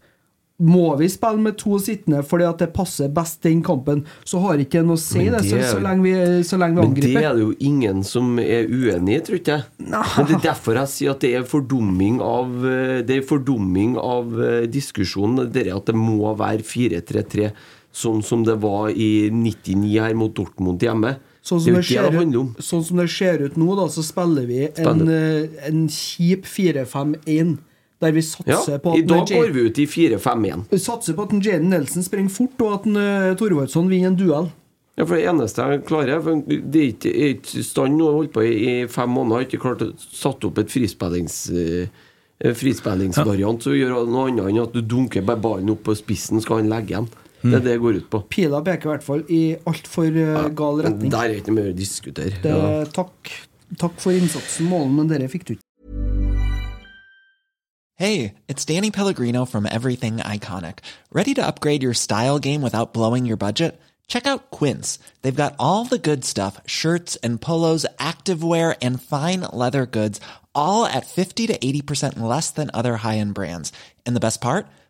D: Må vi spille med to sittende fordi at det passer best den kampen, så har ikke det noe å si,
B: Men
D: det, så,
B: det er jo-
D: så lenge vi, så lenge vi
B: Men det
D: angriper.
B: er det jo ingen som er uenig i, tror ikke jeg. Men det er derfor jeg sier at det er fordumming av eh, Det er fordumming av eh, diskusjonen. Det er at det må være 4-3-3, sånn som det var i 99 her mot Dortmund hjemme.
D: Sånn
B: det
D: som
B: er jo
D: det, ser
B: det det handler om.
D: ut, sånn som det ser ut nå, da, så spiller vi en, eh, en kjip 4-5-1, der vi
B: Ja,
D: satser på
B: I
D: at
B: dag
D: Jay-
B: går vi ut i 4-5-1.
D: vi satser på at en Jaden Nelson springer fort, og at en, eh, Thorvaldsson vinner en duell.
B: Ja, for Det eneste jeg klarer for Det er ikke- er ikke i stand nå. Jeg har holdt på i i fem måneder. Jeg har ikke klart å satt opp et frispillings eh, eh, frispillingsvariant som gjør noe annet enn at du dunker bare ballen opp på spissen, skal han legge den. Det er det det går ut på.
D: Mm. Pila peker i hvert fall i altfor uh, gal
B: Men
D: retning.
B: Der er ikke mer å diskutere.
D: Det,
B: Ja.
D: Eh, takk, takk for innsatsen, Målen, men dere fikk du ikke.
G: Hey, it's Danny Pellegrino from Everything Iconic. Ready to upgrade your style game without blowing your budget? Check out Quince. They've got all the good stuff shirts and polos, activewear, and fine leather goods, all at 50 to 80% less than other high end brands. And the best part?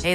F: Hey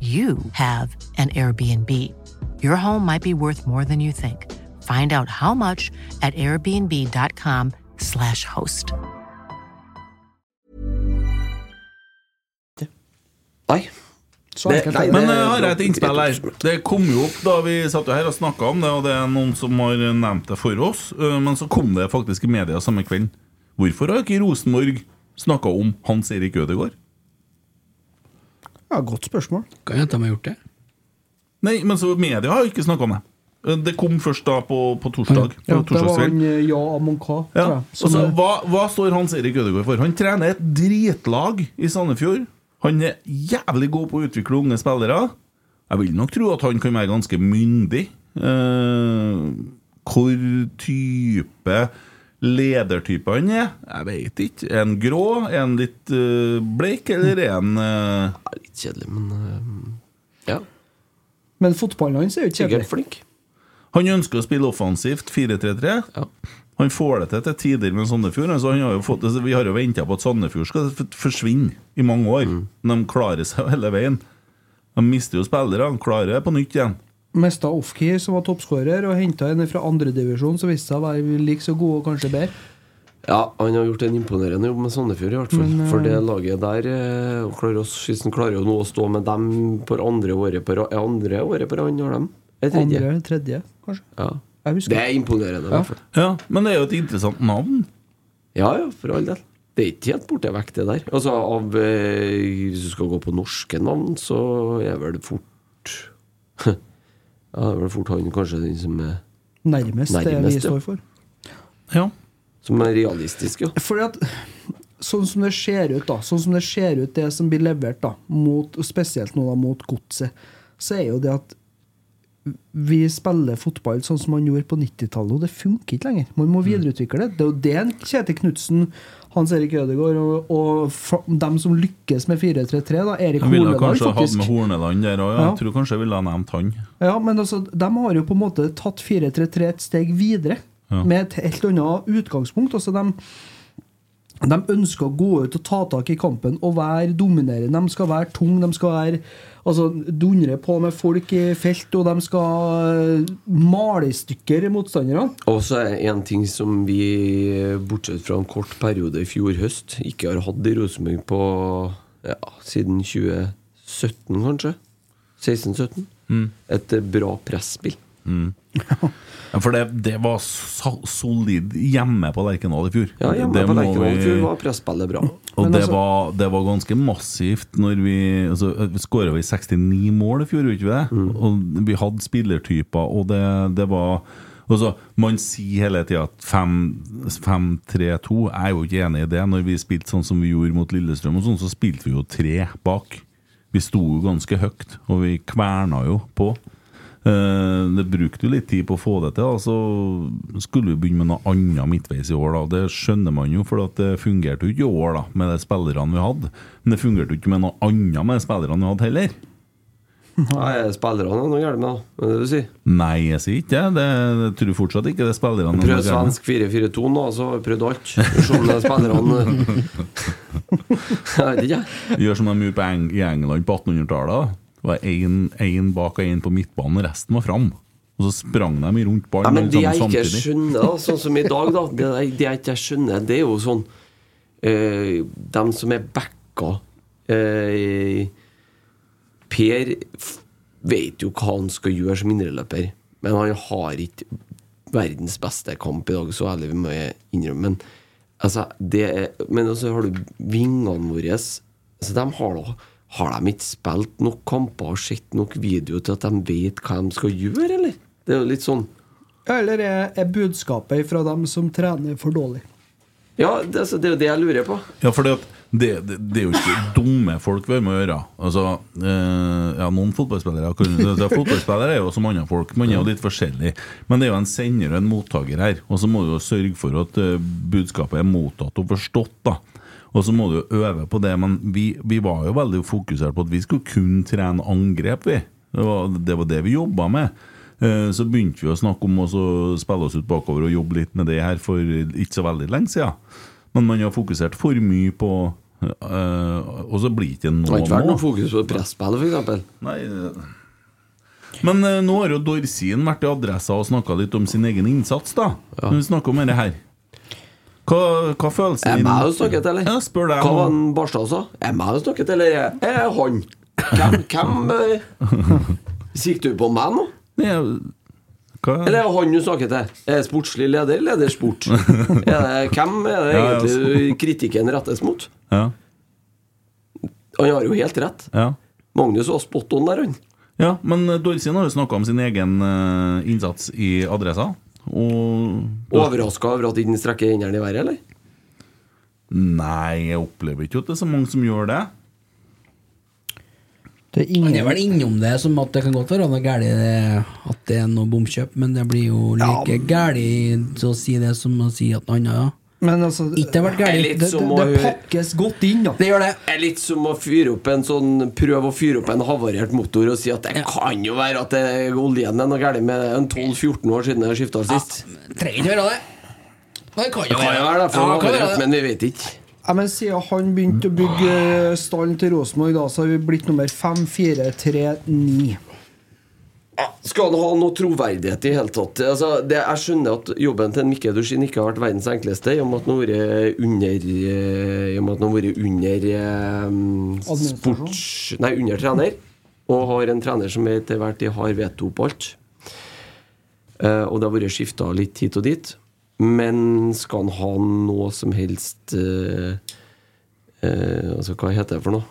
F: you have an Airbnb. Your home might be worth more than you think. Find out how much at airbnb.com/slash host.
B: Nei.
D: Så
B: Det-
D: enkelt
B: nei,
D: er det.
A: Men eh, har jeg et innspill her. Det kom jo opp da vi satt jo her og snakka om det, og det er noen som har nevnt det for oss. eh, Men så kom det faktisk i media samme kvelden. Hvorfor har ikke Rosenborg snakka om Hans Erik Ødegaard?
D: Ja, godt spørsmål.
C: Kan hende de har gjort det.
A: Nei, men så media har jo ikke snakka om det. Eh, Det kom først da på, på torsdag. På
D: Ja, det var
A: torsdagskveld.
D: han eh, Ja Amonka,
A: Ja.
D: tror jeg.
A: Og så, hva, hva står Hans Erik Ødegaard for? Han trener et dritlag i Sandefjord. Han er jævlig god på å utvikle unge spillere. Jeg vil nok tro at han kan være ganske myndig. Eh, hvor type ledertype han er, jeg vet ikke. Er han grå? Er han litt eh, bleik, eller er han eh,
B: Ja, litt kjedelig, men eh, Ja.
D: Men fotballen hans er jo ikke
B: Sikkert
D: kjedelig.
B: flink.
A: Han ønsker å spille offensivt 4-3-3.
B: Ja.
A: Han får det til til tider med Sandefjord. Altså han har jo fått, altså vi har jo venta på at Sandefjord skal f- forsvinne i mange år.
B: Mm.
A: Men de klarer seg jo hele veien. De mister jo spillere, de klarer det på nytt igjen.
D: Mista Ofkir, som var toppskårer, og henta en fra andredivisjon som viste seg å være like så god og kanskje bedre.
B: Ja, han har gjort en imponerende jobb med Sandefjord, i hvert fall.
D: eh,
B: For det laget der eh, og klarer, oss, hvis han klarer jo nå å stå med dem på andre året på ra- eh, Andre året på rad, har de? Et tredje.
D: Andre eller tredje, kanskje.
B: Ja.
D: Jeg
B: Det
D: husker.
B: er imponerende, i
D: Ja.
B: hvert fall.
A: Ja, Men det er jo et interessant navn.
B: Ja ja, for all del. Det er ikke helt borte vekk, det der. Altså, av, eh, Hvis du skal gå på norske navn, så er vel fort (laughs) Ja, det er vel fort han kanskje den som er,
D: Nærmest det
B: Nærmest,
D: vi
B: ja.
D: står for.
A: Ja.
B: som er realistisk, ja.
D: Fordi at sånn som det ser ut, da Sånn som det ser ut, det som blir levert, da mot, og spesielt nå da mot godset, så er jo det at vi spiller fotball sånn som man gjorde på 90-tallet, og det funker ikke lenger. Man
A: Mm.
D: må videreutvikle det. Det er jo det en Kjetil Knutsen, Hans Erik Ødegaard og, og fa- dem som lykkes med 4-3-3, da Erik
A: Jeg ville
D: Horneland,
A: kanskje hatt
D: faktisk.
A: med Horneland der òg. Ja.
D: Ja.
A: Jeg tror kanskje jeg ville ha nevnt han.
D: Ja, men altså, de har jo på en måte tatt 4-3-3 et steg videre,
A: Ja.
D: med et helt annet utgangspunkt. Altså, de, de ønsker å gå ut og ta tak i kampen og være dominerende. De skal være tung, de skal være altså, dundre på med folk i felt, og de skal eh, male i stykker motstanderne.
B: Og så er det en ting som vi, bortsett fra en kort periode i fjor høst, ikke har hatt i Rosenborg på ja, siden 2017, kanskje. 16-17.
A: Mm.
B: Et eh, bra presspill.
A: Ja, For det, det var so solid hjemme på Lerkendal i fjor.
B: Ja, hjemme
A: Det
B: på
A: må
B: Lerkendal i
A: vi-
B: fjor var presspillet bra.
A: Og
D: Men
A: det,
D: altså-
A: var, det var ganske massivt når vi altså, skåra 69 mål i fjor, gjorde vi ikke det?
D: Mm.
A: Og vi hadde spillertyper, og det, det var altså, Man sier hele tida at 5-3-2 Jeg er jo ikke enig i det. Når vi spilte sånn som vi gjorde mot Lillestrøm, og sånn, så spilte vi jo tre bak. Vi sto jo ganske høyt, og vi kverna jo på. Eh, Det brukte jo litt tid på å få det til. da, Så skulle vi begynne med noe annet midtveis i år. da Det skjønner man jo, for at det fungerte jo ikke i år da med de spillerne vi hadde. Men det fungerte jo ikke med noe annet med de spillerne vi hadde heller.
B: Nei, spillerne er noe galt med, da. Hva er det du sier?
A: Nei, jeg sier ikke det. Det jeg tror fortsatt ikke det er spillerne vi
B: Prøv
A: hadde hjemme.
B: svensk (laughs) 4-4-2 nå, så har vi prøvd alt. Se om det er spillerne eh, Jeg vet ikke, jeg.
A: (laughs) Gjør som de gjorde på Eng i England på 1800-tallet. da. Det var én- én bak og én på midtbanen, resten var fram. Og så sprang de rundt
B: Nei,
A: ballen
B: men det jeg
A: alle sammen
B: ikke
A: sånn samtidig.
B: skjønner, da, sånn som i dag, da Det, jeg- det jeg ikke skjønner, det er jo sånn eh, Dem som er backa eh, Per f- vet jo hva han skal gjøre som indreløper, men han har ikke verdens beste kamp i dag, så ærlig må jeg innrømme. Men, altså, det er, men også har du vingene våre altså, de har, da, har de ikke spilt nok kamper og sett nok video til at de vet hva de skal gjøre, eller? Det er jo litt sånn
D: Eller er, er budskapet fra dem som trener for dårlig?
B: Ja, det, altså, det er jo det jeg lurer på.
A: Ja, for det, det, det er jo ikke dumme folk vi har med å gjøre. Altså, eh, ja, noen fotballspillere kan- altså, Fotballspillere er jo som andre folk, man er jo litt forskjellig. Men det er jo en sender og en mottaker her, og så må du jo sørge for at eh, budskapet er mottatt og forstått. da og så må du jo øve på det, men vi, vi var jo veldig fokusert på at vi skulle kun trene angrep, vi. Det var det, var det vi jobba med. Eh, Så begynte vi å snakke om å så spille oss ut bakover og jobbe litt med det her for ikke så veldig lenge siden. Men man har fokusert for mye på eh, Og så blir det ikke
B: Det har ikke vært
A: noe
B: noe fokus på presspillet, f.eks.
A: Nei eh. Men eh, nå har jo Dorsin vært i Adressa og snakka litt om sin egen innsats, da. Når vi snakker om dette her. Hva, hva følelsen
B: Er det meg du snakket til, eller?
A: Ja, spør deg.
B: Hva
A: om-
B: var den Barstad sa? Er det meg du snakket til, eller er er det han? Hvem, hvem eh, Sikter du på meg nå?
A: Ja, hva?
B: Eller er det han du snakker til? Er det sportslig leder, eller er det sport? Er det, hvem er det
A: Ja, ja,
B: egentlig kritikken rettes mot?
A: Ja,
B: Han har jo helt rett.
A: ja.
B: Magnus var spot on der, han.
A: Ja, men eh, Dorsin har jo snakka om sin egen eh, innsats i Adressa. Og
B: Overraska over at den ikke strekker hendene i været, eller?
A: Nei, jeg opplever ikke at det er så mange som gjør det.
D: Det er
C: Han
D: ingen
C: er vel innom det som at det kan godt være noe galt i det, at det er noe bomkjøp, men det blir jo like galt å si det som å si at noe annet, ja.
D: Men altså
C: Ikke det har vært
B: Det er
C: galt.
B: litt
D: det,
B: som
D: det,
B: å
D: det
B: høre-
D: pakkes godt inn, da.
C: Det gjør det.
B: Det er litt som å fyre opp en sånn prøve å fyre opp en havarert motor og si at det kan jo være at det er oljen det er noe galt med en 12-14 år siden jeg skifta sist.
C: Trenger ikke være det. Det kan jo
B: Det kan jo være det, for
C: Ja, det kan
B: havarert,
C: være det.
B: men vi vet ikke.
D: Ja, men Siden han begynte å bygge eh, stallen til Rosenborg, da, så har vi blitt nummer 5439.
B: Ja, Skal han ha noe troverdighet i hele tatt? Altså, det, jeg skjønner at jobben til Mikke Dorsin ikke har vært verdens enkleste, i og med at han har vært under, eh, i og med at han har vært under eh,
D: Administrasjon.
B: sports... Nei, under trener. Og har en trener som etter hvert tid har veto på alt. Eh, og det har vært skifta litt hit og dit. Men skal han ha noe som helst eh, eh, Altså, hva heter det for noe?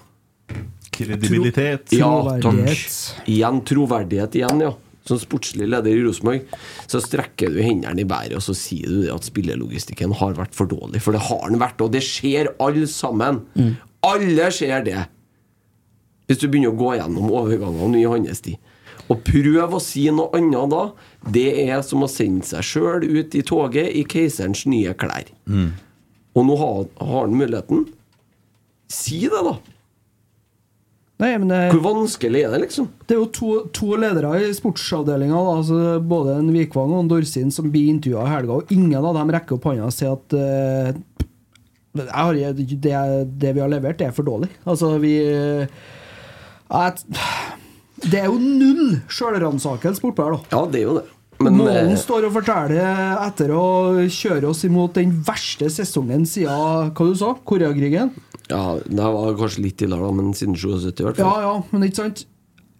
A: Kredibilitet.
B: Ja, takk.
D: Troverdighet.
B: Igjen troverdighet igjen, ja. Som sportslig leder i Rosenborg, så strekker du hendene i været og så sier du det at spillerlogistikken har vært for dårlig. For det har den vært, og det skjer alle sammen.
D: Mm.
C: (laughs)
B: Alle ser det. Hvis du begynner å gå gjennom overgangene i hans tid. Å prøve å si noe annet da, det er som å sende seg sjøl ut i toget i keiserens nye klær. Og nå har, har han muligheten. Si det, da.
D: Nei, men det,
B: Hvor vanskelig er det, liksom?
D: det er jo to, to ledere i sportsavdelinga, da, altså både en Vikvang og en Dorsin, som blir intervjua i helga, og ingen av dem rekker opp hånda og sier at eh, jeg har, det, det vi har levert, det er for dårlig. Altså, vi at, Det er jo null sjølransakelse bortpå her, da.
B: Ja, det er jo det.
D: Målen
B: eh,
D: står og forteller etter å kjøre oss imot den verste sesongen siden hva du sa, Koreakrigen.
B: Ja, det var kanskje litt ille, da, men siden 77 i hvert
D: Ja,
B: fall.
D: ja, men ikke sant?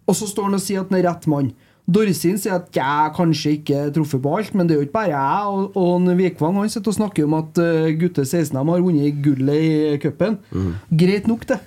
D: Og så står han og sier at han er rett mann. Dorsin sier at jeg kanskje ikke truffet på alt, men det er jo ikke bare jeg. Og, og han Vikvang han sitter og snakker om at eh, gutter 16 dem har vunnet gullet i eh, cupen. Greit nok, det.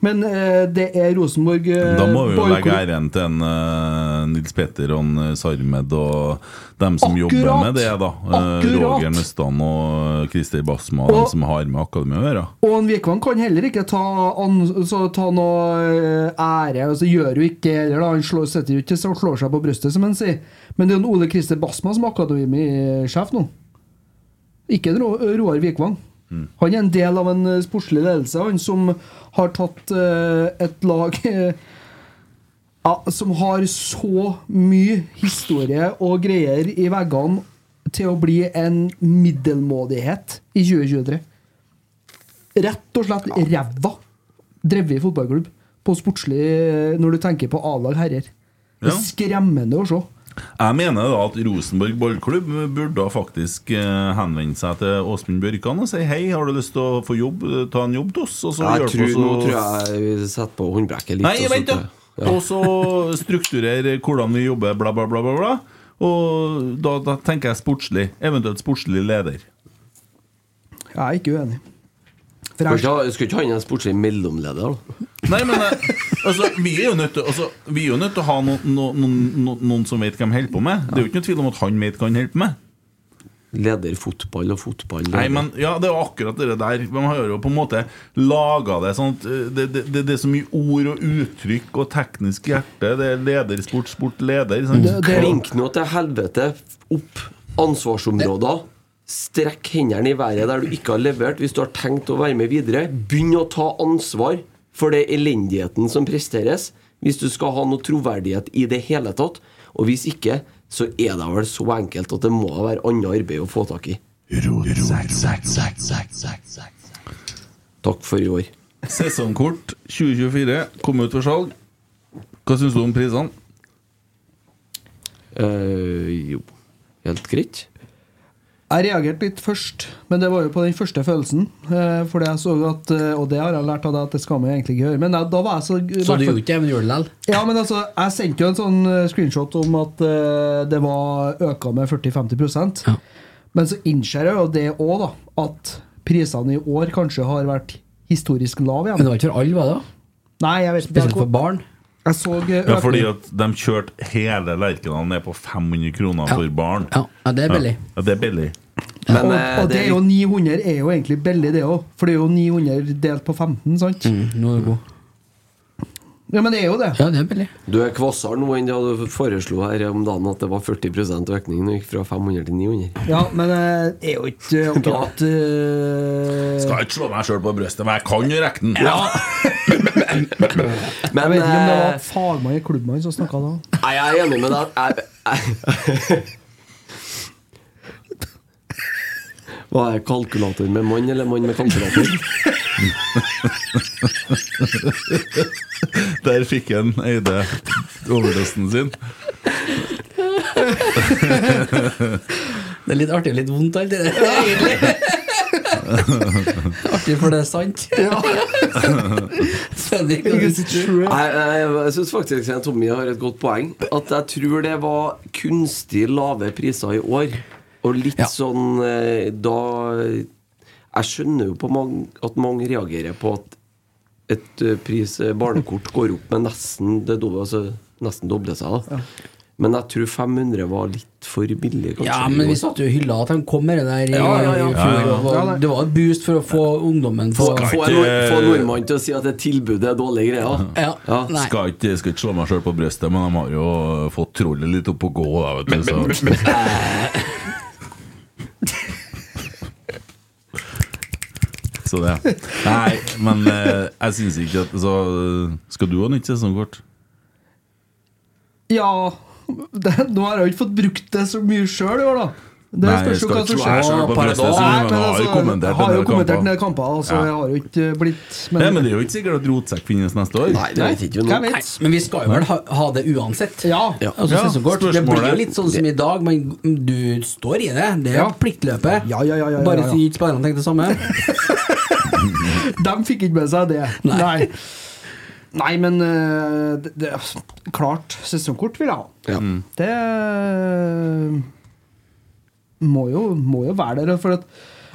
D: Men eh, det er Rosenborg eh,
A: Da må vi jo legge
D: boykott-
A: æren til en, eh, Nils Petter og en, eh, Sarmed og dem som
D: Akkurat!
A: jobber med det, da. Eh,
D: Akkurat!
A: Roger Nøstan og eh, Christer Basma, og dem
D: Og-
A: som har med akademiet å gjøre.
D: Og en Vikvang kan heller ikke ta, an, så ta noe eh, ære. Altså, gjør jo ikke det heller, da. Han slår, setter jo ikke seg og slår seg på brystet, som han sier. Men det er jo en Ole Christer Basma som er akademisjef nå. Ikke en Ro- Roar Vikvang. Han er en del av en eh, sportslig ledelse, han som har tatt eh, et lag (laughs) eh, ja, som har så mye historie og greier i veggene til å bli en middelmådighet i 2023 rett og slett ræva drevet i fotballklubb på sportslig når du tenker på A-lag herrer. Det
A: Ja.
D: er skremmende å se.
A: Jeg mener da at Rosenborg ballklubb burde da faktisk eh, henvende seg til Åsmund Bjørkan og si hei, har du lyst til å få jobb, ta en jobb til oss? Og så
B: Jeg
A: hjelpe
B: tror,
A: oss å-
B: nå tror jeg vi setter på håndbrekket litt.
A: Nei,
B: og så
A: vent, da!
B: tror jeg- Ja.
A: (laughs) Og så strukturere hvordan vi jobber, bla, bla, bla, bla. bla. Og da, da tenker jeg sportslig. Eventuelt sportslig leder.
D: Jeg er ikke uenig.
B: Skal
D: For jeg,
B: ikke ha- Skal ikke han en sportslig mellomleder, da?
A: Nei, men eh, altså, vi er jo nødt til, altså, vi er jo nødt til å ha noen, noen, noen, noen som vet hva de holder på med. Det er jo ikke noe tvil om at han vet hva han holder på med.
B: Leder fotball og fotball
A: Nei,
B: leder.
A: men ja, Det er jo akkurat det der. Man har jo på en måte laga det sånn at eh, det, det, det, det er så mye ord og uttrykk og teknisk hjerte. Det er leder, sport, sport, leder. sant?
D: Det- det-
B: Klink nå til helvete opp ansvarsområder. Strekk hendene i været der du ikke har levert, hvis du har tenkt å være med videre. Begynn å ta ansvar for det elendigheten som presteres, hvis du skal ha noe troverdighet i det hele tatt. Og hvis ikke, så er det vel så enkelt at det må være annet arbeid å få tak i. Takk for i år.
A: Sesongkort 2024 kom ut for salg. Hva syns du om prisene?
B: Eh, jo, helt greit.
D: jeg reagerte litt først, men det var jo på den første følelsen. eh, Fordi jeg så at, eh, Og det har jeg lært av deg at det skal man egentlig ikke gjøre. Men jeg, da var jeg så,
C: Så du gjorde ikke det, men du gjorde det likevel?
D: Ja, men altså, Jeg sendte jo en sånn eh, screenshot om at eh, det var øka med 40-50
C: Ja.
D: Men så innser jeg jo det òg, da. At prisene i år kanskje har vært historisk lave
C: Men
D: igjen.
C: det var ikke for alle, var det?
D: Nei, jeg vet ikke.
C: Spesielt for barn.
D: Jeg så eh,
A: Ja, fordi
D: økning.
A: at de kjørte hele Lerkendal ned på 500 kroner for barn.
C: Ja, ja, det er billig.
A: Ja, det er billig.
B: Men,
D: og,
B: eh,
D: og det
B: det er
D: er jo 900 er jo egentlig billig, det òg. For det er jo 900 delt på 15, sant?
C: Mm, Nå er du god.
D: Ja, men det er jo det.
C: Ja, det er billig.
B: Du er kvassere nå enn det du foreslo her om dagen, at det var 40 økning når du gikk fra 500 til
D: (laughs)
B: 900.
D: Ja, men eh, det er jo
A: (laughs)
D: ikke eh, akkurat eh,
A: Skal ikke slå meg sjøl på brystet, men jeg kan jo rekke den.
B: Men
D: Jeg vet ikke om det
B: eh,
D: var fagmann i klubben som snakka da.
B: Nei, jeg er enig med deg. Jeg, jeg, Hva er kalkulator med mann eller mann med kalkulator?
A: Der fikk han Eide overdosen sin. Hmm.
C: Det er litt artig og litt vondt, alt det der. egentlig. (laughs) artig for det er sant. Svendik, hva du
B: Jeg,
C: sitter
B: jeg, jeg syns faktisk at Tommy har et godt poeng. At jeg tror det var kunstig lave priser i år. Og litt
C: Ja.
B: sånn eh, da Jeg skjønner jo på mange, at mange reagerer på at et eh, pris eh, barnekort går opp med nesten det doble, altså nesten doble seg. da Men jeg tror 500 var litt for billig, kanskje.
C: (laughs) Ja,
B: i
C: men
B: år.
C: vi satt jo i hylla at de kom med det der i
B: Ja, ja, ja.
C: i fjor. Det var-
D: Ja, ja.
C: Det var et boost for å få ungdommen på
B: få, få, en, nord- få en nordmann til å si at et tilbud er dårlige greier.
C: Ja,
B: Ja.
C: nei.
A: Skal ikke, skal ikke slå meg sjøl på brystet, men de har jo fått trollet litt opp å gå. Da, vet du, så. så det. Nei, men eh, jeg syns ikke at så, Skal du ha nytt sesongkort?
D: Ja (laughs) det, Nå har jeg jo ikke fått brukt det så mye sjøl i år, da. Det
A: Nei,
D: spørs jo
A: skal
D: hva
A: ikke
D: som
A: slå meg
D: skjer.
A: selv på
C: Paradoks.
A: brystet, så,
D: Nei,
A: men
D: altså,
A: jeg har jo kommentert
D: har jo
A: en del
D: kommentert en del
A: kamper.
D: kamper, altså
A: Ja.
D: jeg har jo ikke blitt men,
A: Nei, men det er jo ikke sikkert at rotsekk finnes neste år.
B: Nei, det vet ikke vi nå.
D: Hvem vet?
C: Nei, men vi skal jo vel ha, ha det uansett.
D: Ja. Ja.
C: Altså,
A: Ja,
C: sesongkort, det
A: spørsmålet-
C: blir jo litt sånn som i dag, men du står i det. Det er
D: Ja.
C: pliktløpet.
D: Ja, ja, ja, ja, ja,
C: Bare
D: ja.
C: så ikke spillerne tenker det samme.
D: De fikk ikke med seg det.
C: Nei.
D: Nei, Nei men eh, det, det, Klart, sesongkort vil jeg ha.
B: Ja.
A: Mm.
D: Det eh, må jo, må jo være der. For at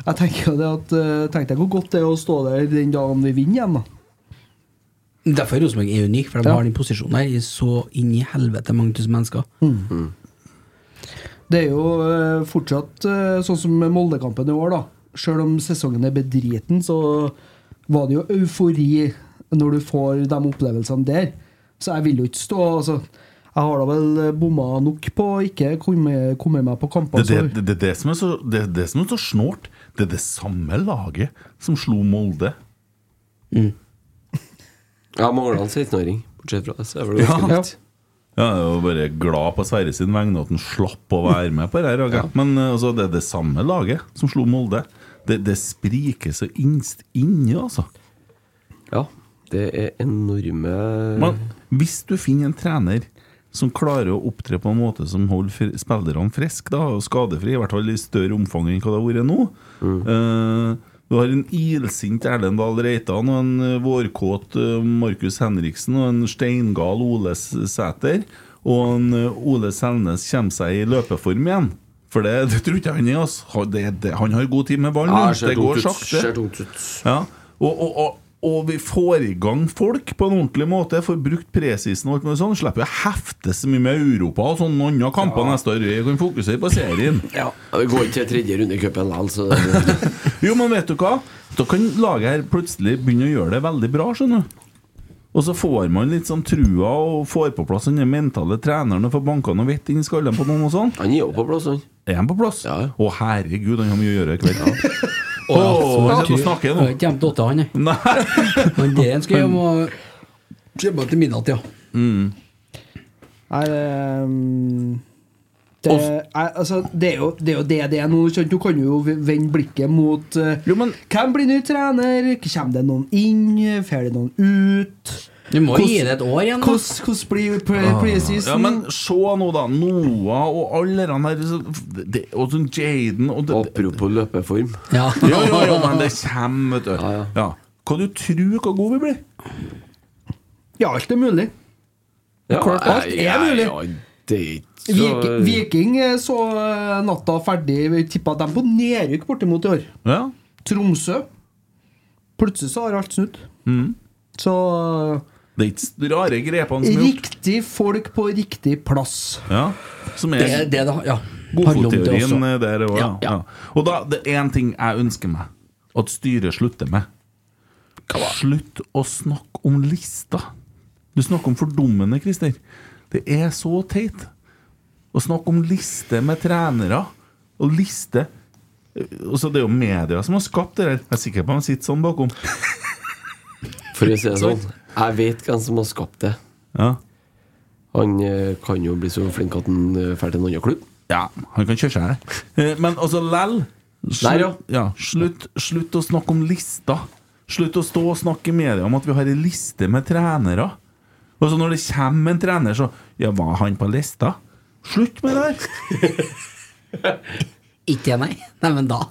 D: jeg tenker jo det at eh, Tenk deg hvor godt det er å stå der den dagen vi vinner igjen, da.
C: Derfor er Rosenborg er unik, for de
D: Ja.
C: har den posisjonen her i så inn i helvete mange tusen mennesker.
B: Hmm.
D: Det er jo eh, fortsatt eh, sånn som Moldekampen i år, da. Sjøl om sesongen er bedriten, så var det jo eufori når du får de opplevelsene der. Så jeg vil jo ikke stå altså, Jeg har da vel bomma nok på å ikke komme, komme meg på kamper.
A: Det er
D: så-
A: det, det, er det som er så, det, er det som er så snålt. Det er det samme laget som slo Molde.
B: Jeg mangler en 16-åring, bortsett fra det. Så er det vel ganske
D: Ja.
B: likt.
A: Ja, jeg var bare glad på Sverre sin vegne at han slapp å være med på det her. Roger. Men eh, altså, det er det samme laget som slo Molde. Det, det spriker så innst inni, altså.
B: Ja. Det er enorme
A: Men hvis du finner en trener som klarer å opptre på en måte som holder fri- spillerne friske, da, og skadefri, i hvert fall i større omfang enn hva det har vært nå Eh, Du har en ilsint Erlend Dahl Reitan og en eh, vårkåt eh, Markus Henriksen og en steingal Ole S- Sæter, og en eh, Ole Selnes kommer seg i løpeform igjen. For det, det tror ikke jeg han er. Altså. Han- Det, det, han har god tid med ballen.
B: Ja,
A: det går
B: ut.
A: sakte.
B: Ser tungt ut.
A: Ja, og, og, og, og vi får i gang folk på en ordentlig måte, får brukt presisen og alt mulig sånn. Slipper å hefte så mye med Europa og sånne andre kamper neste år. Vi kan fokusere på serien.
B: (laughs) Ja. Vi går ikke til tredje runde i cupen likevel, så det
A: (laughs) Jo, men vet du hva? Da kan laget her plutselig begynne å gjøre det veldig bra, skjønner du. Og så får man litt sånn trua og får på plass den mentale treneren og får banka noe vett inn i skallen på noen og sånn.
B: Han er jo på plass, han.
A: Er han på plass?
B: Ja, ja.
A: Å, herregud, han har mye å gjøre i kveld. Å, han sitter og snakker
C: Jeg
A: nå.
C: har ikke gjemt åtte, han. jeg.
A: Nei.
C: Men det han skal gjøre, må jobbe til midnatt, ja.
D: Nei, det, mm, det, nei, altså, det, er jo, det er jo det det er nå. skjønt. Du kan jo vende blikket mot eh,
A: Jo, men-
D: Hvem blir ny trener? Kommer det noen inn? Får det noen ut?
C: Du må
D: Hvordan-
C: gi det et år igjen, da.
D: Hvordan hvordan blir pre- preseason?
A: Ah. Ja, men se nå, da. Noah og alle de her så- det- Og sånn Jaden og det,
B: Apropos løpeform.
C: Ja.
A: Jo, jo, jo, men det kommer, vet du.
B: Ja, ja.
A: Ja. Hva du tror hvor gode vi blir?
D: ja, alt er mulig.
B: Ja,
D: klart, alt
B: nei,
D: er
B: ja,
D: mulig.
B: ja, det er ikke så-
D: Vik, Viking eh, så eh, natta ferdig. Vi tippa dem på nedrykk bortimot i år.
A: Ja.
D: Tromsø. Plutselig så har alt snudd. Så eh,
A: mm. Det er ikke s- rare grepene som er gjort.
D: Riktig folk på riktig plass.
A: Ja, som er
C: Det er det det ja. handler om, det
A: Godfotteorien
C: også.
A: eh, der òg, ja.
C: Ja, ja.
A: ja. Og da, det er én ting jeg ønsker meg at styret slutter med. Slutt å snakke om lista. Du snakker om fordummende, Christer. Det er så teit. Å snakke om liste med trenere og liste Og så Det er jo media som har skapt det der. Jeg er sikker på at de sitter sånn bakom.
B: For å
A: (laughs)
B: si det sånn, jeg vet hvem som har skapt det.
A: Ja,
B: Han eh, kan jo bli så flink at han eh, drar til en annen klubb.
A: ja han kan kjøre seg. Eh, Men altså, lell
B: Der, ja.
A: Slutt, ja, slutt, slutt å snakke om lista. Slutt å stå og snakke i media om at vi har ei liste med trenere. Og så når det kommer en trener, så Ja, var han på lista? Slutt med det der!
C: (laughs) Ikke jeg, nei. Nei, men da.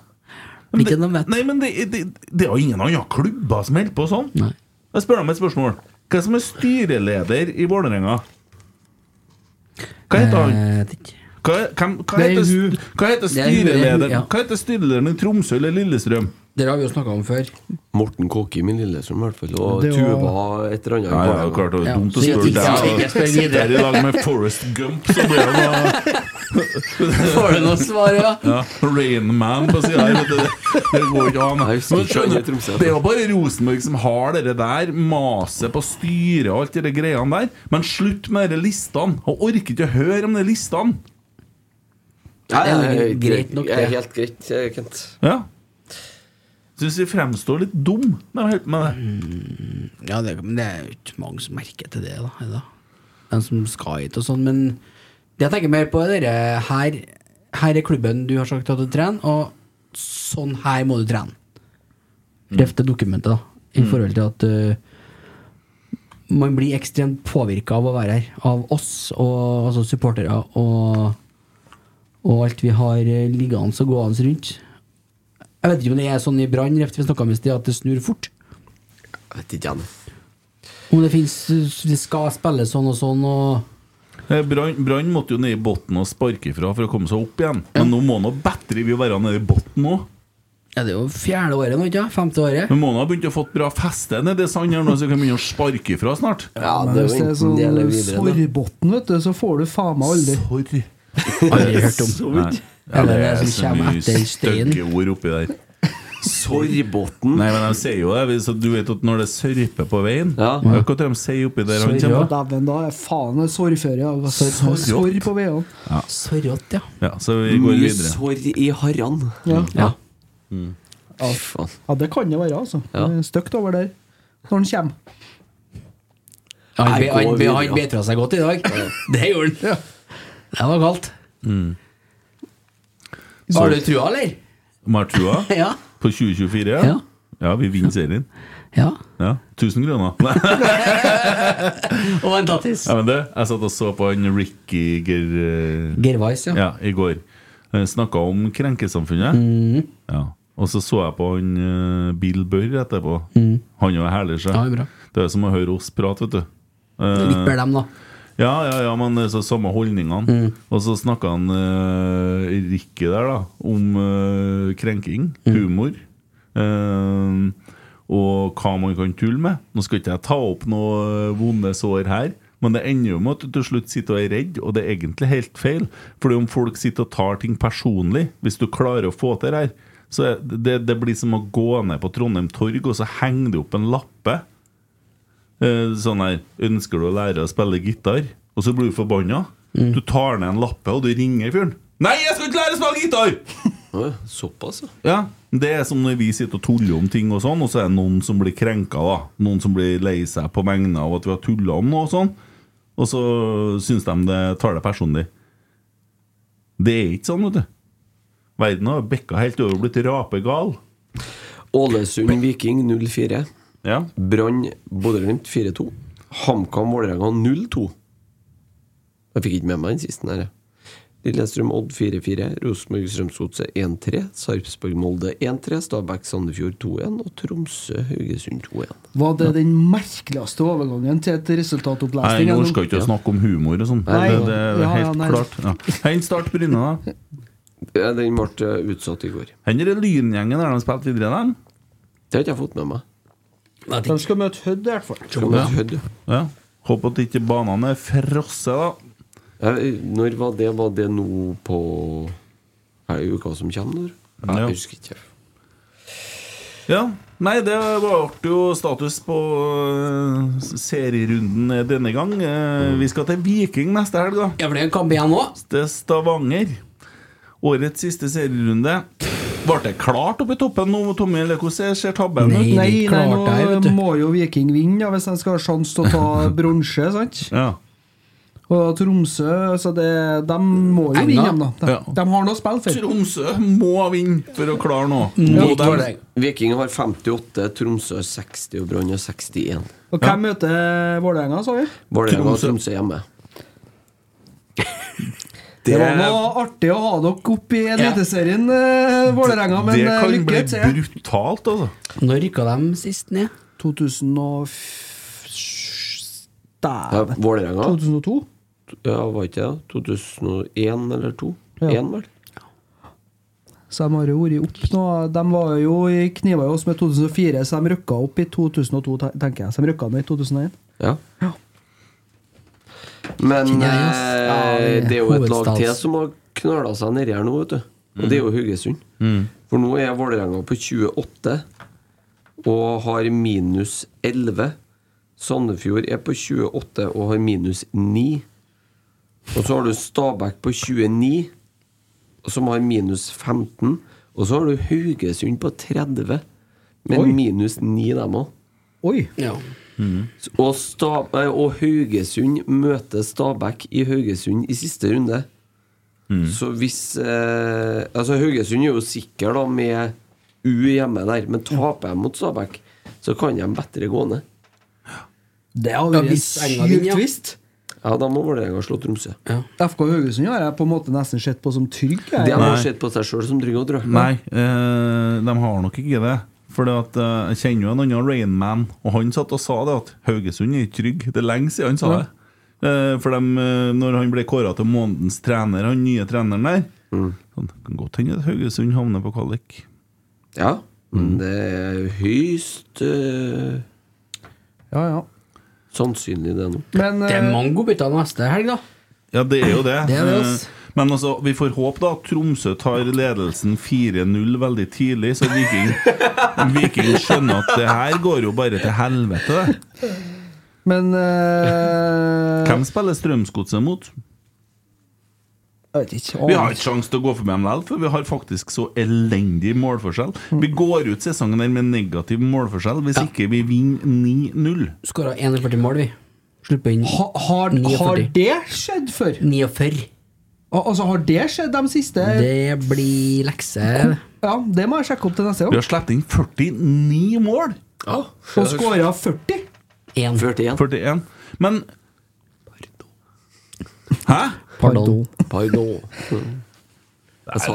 C: Blir ikke noe mett.
A: Nei, men det, det, det er jo ingen andre klubber som holder på sånn.
C: Nei.
A: Jeg spør deg om et spørsmål. Hva som er styreleder i Vålerenga? Hva heter han?
C: Eh, vet ikke.
A: Hva, hvem, hva,
D: Det er
A: heter,
D: hun.
A: st- hva heter
C: Det er hun, det er hun,
A: styrelederen
C: ja.
A: Hva heter styrelederen i Tromsø eller Lillestrøm?
C: Dere har vi jo snakka om før.
B: Morten Kåkim i Lillestrøm, i hvert fall. Og
D: Det var-
B: Tuva et eller annet.
A: Nei, det er jo klart det
C: Ja,
A: er dumt å
C: så
A: spørre
C: ikke- ikke spør
A: deg.
C: videre.
A: Der i dag med
C: (laughs)
A: Forest Gump, så blir det noe
C: Får du noe svar, ja?
A: ja, Rain Man på sida her. vet du. Det, det går ikke an.
B: Jeg husker
A: Men
B: ikke han i
A: skjønner,
B: Tromsø. altså.
A: Det er jo bare Rosenborg som har det der maset på styret og alt det der greiene der. Men slutt med de listene. Og orker ikke å høre om de listene.
B: Ja, ja,
C: Det er jo
B: ja,
C: greit nok,
B: ja,
C: det.
B: Helt greit, eh, Kent.
A: Ja. Syns vi fremstår litt dum når vi holder på med det.
C: Mm, Ja, det, men det er jo ikke mange som merker til det, da. er det da? Den som skal hit og sånn. Men det jeg tenker mer på, er dette her, her er klubben du har sagt at du trener, og sånn her må du trene. Ref det dokumentet, da.
A: Mm.
C: I forhold til at eh, man blir ekstremt påvirka av å være her. Av oss, og altså supportere, og, og alt vi har eh, liggende og gående rundt. Jeg vet ikke om det er sånn i Brann, ref vi snakka om i sted, at det snur fort.
B: Jeg vet ikke, Jan.
C: Om det finnes Vi skal spille sånn og sånn og
A: Eh, Brann Brann måtte jo ned i bunnen og sparke ifra for å komme seg opp igjen. Men nå må nå batteriet vi være nede i bunnen òg.
C: Ja, det er jo fjerde året nå, ikke sant? Femte året.
A: Men Mona har begynt å fått bra feste nedi sand her nå, så vi kan begynne å sparke ifra snart.
B: Ja,
D: Men
B: det er
D: hvis
B: jo
D: det er
B: enten det eller
D: sånn
B: videre.
D: sorgbotn, vet du, så får du faen meg aldri
A: Sorry. (laughs)
C: Aldri hørt om.
A: Nei. Ja,
C: Eller
A: det
C: det
A: er
C: som
A: så
C: kommer
A: mye
C: etter stein.
A: stygge ord oppi der.
B: da. Sorgbotn.
A: Nei, men de sier jo det. Så du vet at når det sørper på veien
B: Ja.
A: Hva er det de sier oppi der? Han
C: Sorry,
A: kommer.
D: Dæven, da er faen meg sorgføre. ja.
A: Sorg.
D: Sorg på veiene.
C: Sorrott, ja.
A: Ja, så vi går
B: Mye
A: videre.
B: sorg i harran.
D: Ja.
C: ja.
A: Mm.
B: Fy faen.
D: ja, det kan det være, altså.
B: Ja.
D: Det er Stygt over der når den kommer.
B: Jeg går
C: Han, be, han, be,
B: videre,
C: han
B: ja.
C: bet fra seg godt i dag. (laughs) Det gjorde han. Det var kaldt.
A: Mm.
C: Har du trua, eller?
A: Martua
C: (laughs) Ja.
A: på 2024?
C: Ja.
A: ja vi vinner serien.
C: ja.
A: Ja. 1000 kroner. (laughs) Nei.
C: Og en tattis.
A: Ja, men det, jeg satt og så på han Ricky Ger... eh,
C: Gervais, ja. Mm.
A: Ja, i går. Eh, Snakka om krenkesamfunnet. Ja. Og så så jeg på han eh, Bill Børr etterpå.
C: mm.
A: Han er jo herlig, så.
C: Ja, han er bra.
A: Det er som å høre oss prate, vet du. Eh,
C: Litt mer dem, da.
A: ja, ja, ja, men det er så samme holdningene. Og så snakka han eh, Ricky der, da, om eh, krenking, humor. eh, og hva man kan tulle med. Nå skal ikke jeg ta opp noe eh, vonde sår her, men det ender jo med at du til slutt sitter og er redd, og det er egentlig helt feil. Fordi om folk sitter og tar ting personlig, hvis du klarer å få til det her, så er det, det blir som å gå ned på Trondheim torg, og så henger det opp en lappe. Eh, sånn her Ønsker du å lære å spille gitar? Og så blir du forbanna.
D: Mm.
A: Du tar ned en lappe, og du ringer fyren. Nei, jeg skal ikke lære å spille gitar!
B: (laughs) Å, Såpass, ja.
A: Ja, Det er som når vi sitter og tuller om ting, og sånn Og så er det noen som blir krenka. da Noen som blir lei seg på vegne av at vi har tulla om noe. Og sånn Og så syns de det tar det personlig. Det er ikke sånn, vet du. Verden har bikka helt over og blitt rapegal.
B: Ålesund Viking 04.
A: Ja.
B: Brann Bodø-Glimt 4-2. HamKam Vålerenga 0-2. Jeg fikk ikke med meg den siste her. jeg. Lillestrøm Odd 4-4. Rosenborg Strømsgodset 1-3. Sarpsborg Molde 1-3. Stabæk Sandefjord 2-1. Og Tromsø Haugesund 2-1.
D: Var det den merkeligste overgangen til et
A: Nei,
D: resultatopplesning?
A: Jeg orker ikke å snakke om humor og sånn. Det,
D: Nei.
A: det, det
D: Ja,
A: er
D: ja,
A: helt
D: nei.
A: klart. Ja. Hent Start Bryne, da.
B: Ja, Den ble eh, utsatt i går.
A: Den der lyngjengen der de spilte videre, dem
B: Det har ikke jeg fått med meg.
D: De skal møte Hødd, i hvert fall.
B: Skal man kødde?
A: Ja. Håper at ikke banene er frosset, da.
B: Ja, Når var det? Var det nå på Er det uka som kommer, når?
A: Ja.
B: Jeg husker ikke.
A: Ja. Nei, det ble jo status på eh, serierunden denne gang. Eh, Vi skal til Viking neste helg, da.
C: Ja, for det er en kamp igjen nå.
A: til Stavanger. Årets siste serierunde. Ble det klart oppe i toppen nå, Tommy? Eller hvordan ser tabben
C: Nei.
A: ut?
C: det er
D: Nei, nei,
C: klart det, vet du.
D: nå må jo Viking vinne da, hvis de skal ha sjanse til å ta
A: (laughs)
D: bronse. sant?
A: Ja.
D: Og Tromsø så det, De må jo
C: Enga.
D: vinne, dem, da. De,
A: Ja.
D: de har noe å spille for.
A: Tromsø må vinne for å klare noe.
D: Mm.
A: Må
C: Ikke for
A: de-
C: deg.
B: Viking har 58, Tromsø har 60 og Brann har 61.
D: Og hvem møter Vålerenga, sa vi?
B: Vålerenga og
A: Tromsø.
B: Tromsø
A: (laughs)
B: hjemme.
D: Det var noe artig å ha dere opp i Eliteserien, eh, Vålerenga, men
A: det
D: eh,
A: kan
D: lykke
A: bli
D: til.
A: brutalt, altså.
C: Når rykka de sist ned?
D: 2005
B: Ja,
D: Dæven.
B: Vålerenga?
D: 2002?
B: Ja, var ikke det? 2001 eller 2002?
D: Ja.
B: 1, vel?
D: Så de har jo vært opp nå. De var jo i kniva i oss med 2004, så de rykka opp i 2002, te- tenker jeg. Så de rykka ned i 2001.
B: Ja. Men
C: Kjenner jeg, ass. Ja,
B: eh, det er jo et lag
C: hovedstads-
B: til som har knøla seg nedi her nå, vet du. Og det er jo Haugesund. For nå er Vålerenga på 28 og har minus 11. Sandefjord er på 28 og har minus 9. Og så har du Stabæk på 29, som har minus 15. Og så har du Haugesund på 30, men
D: Oi.
B: minus 9, dem òg.
D: Oi!
C: Ja.
B: Og, Sta eh, og Haugesund møter Stabæk i Haugesund i siste runde. Så hvis eh, Altså, Haugesund er jo sikker da med U hjemme der, men taper de mot Stabæk, så kan de bedre gå ned.
D: Det har
C: Ja,
D: vært
C: hvis Enga vinner, ja.
D: sykt visst.
B: Ja, da må Vålerenga slå Tromsø.
D: FK Haugesund har jeg på en måte nesten sett på som trygg.
B: De
D: Jeg.
B: har
A: Nei.
B: sett på seg sjøl som trygge og drø.
A: Nei, eh, de har nok ikke det. For at, eh, jeg kjenner jo en annen Rainman, og han satt og sa det at Haugesund er ikke trygg. Det er lenge siden han sa det. Eh, for dem, eh, når han ble kåra til månedens trener, han nye treneren der sånn, Det kan godt hende at Haugesund havner på kvalik.
B: Ja. Men det er høyst eh,
D: Ja, ja.
B: sannsynlig, det nå.
D: Men
C: Det er
D: eh,
C: mange godbiter neste helg, da.
A: Ja, det er jo det.
C: Det er det, ass.
A: Eh, Men altså, vi får håpe da at Tromsø tar ledelsen 4-0 veldig tidlig, så
C: (laughs)
A: Viking, Viking skjønner at det her går jo bare til helvete. det.
D: Men eh,
A: Hvem spiller Strømsgodset mot?
D: Jeg vet ikke.
A: Vi har ikke sjanse til å gå forbi dem likevel, for vi har faktisk så elendig målforskjell. Vi
B: Mm.
A: går ut sesongen her med negativ målforskjell hvis ikke vi vinner 9-0.
C: Skåra 41 mål, vi. Slipper inn
D: ha, har, har
C: 49.
D: det skjedd før?
C: 49.
D: Al altså, har det skjedd de siste
C: Det blir lekse.
D: Ja, det må jeg sjekke opp til neste
A: Vi
D: gang.
A: har sluppet inn 49 mål!
B: Ja.
D: Og skåra 40.
C: Én.
B: 41.
A: 41. Men Hæ?
C: Pardon.
B: Pardon. (laughs) Jeg sa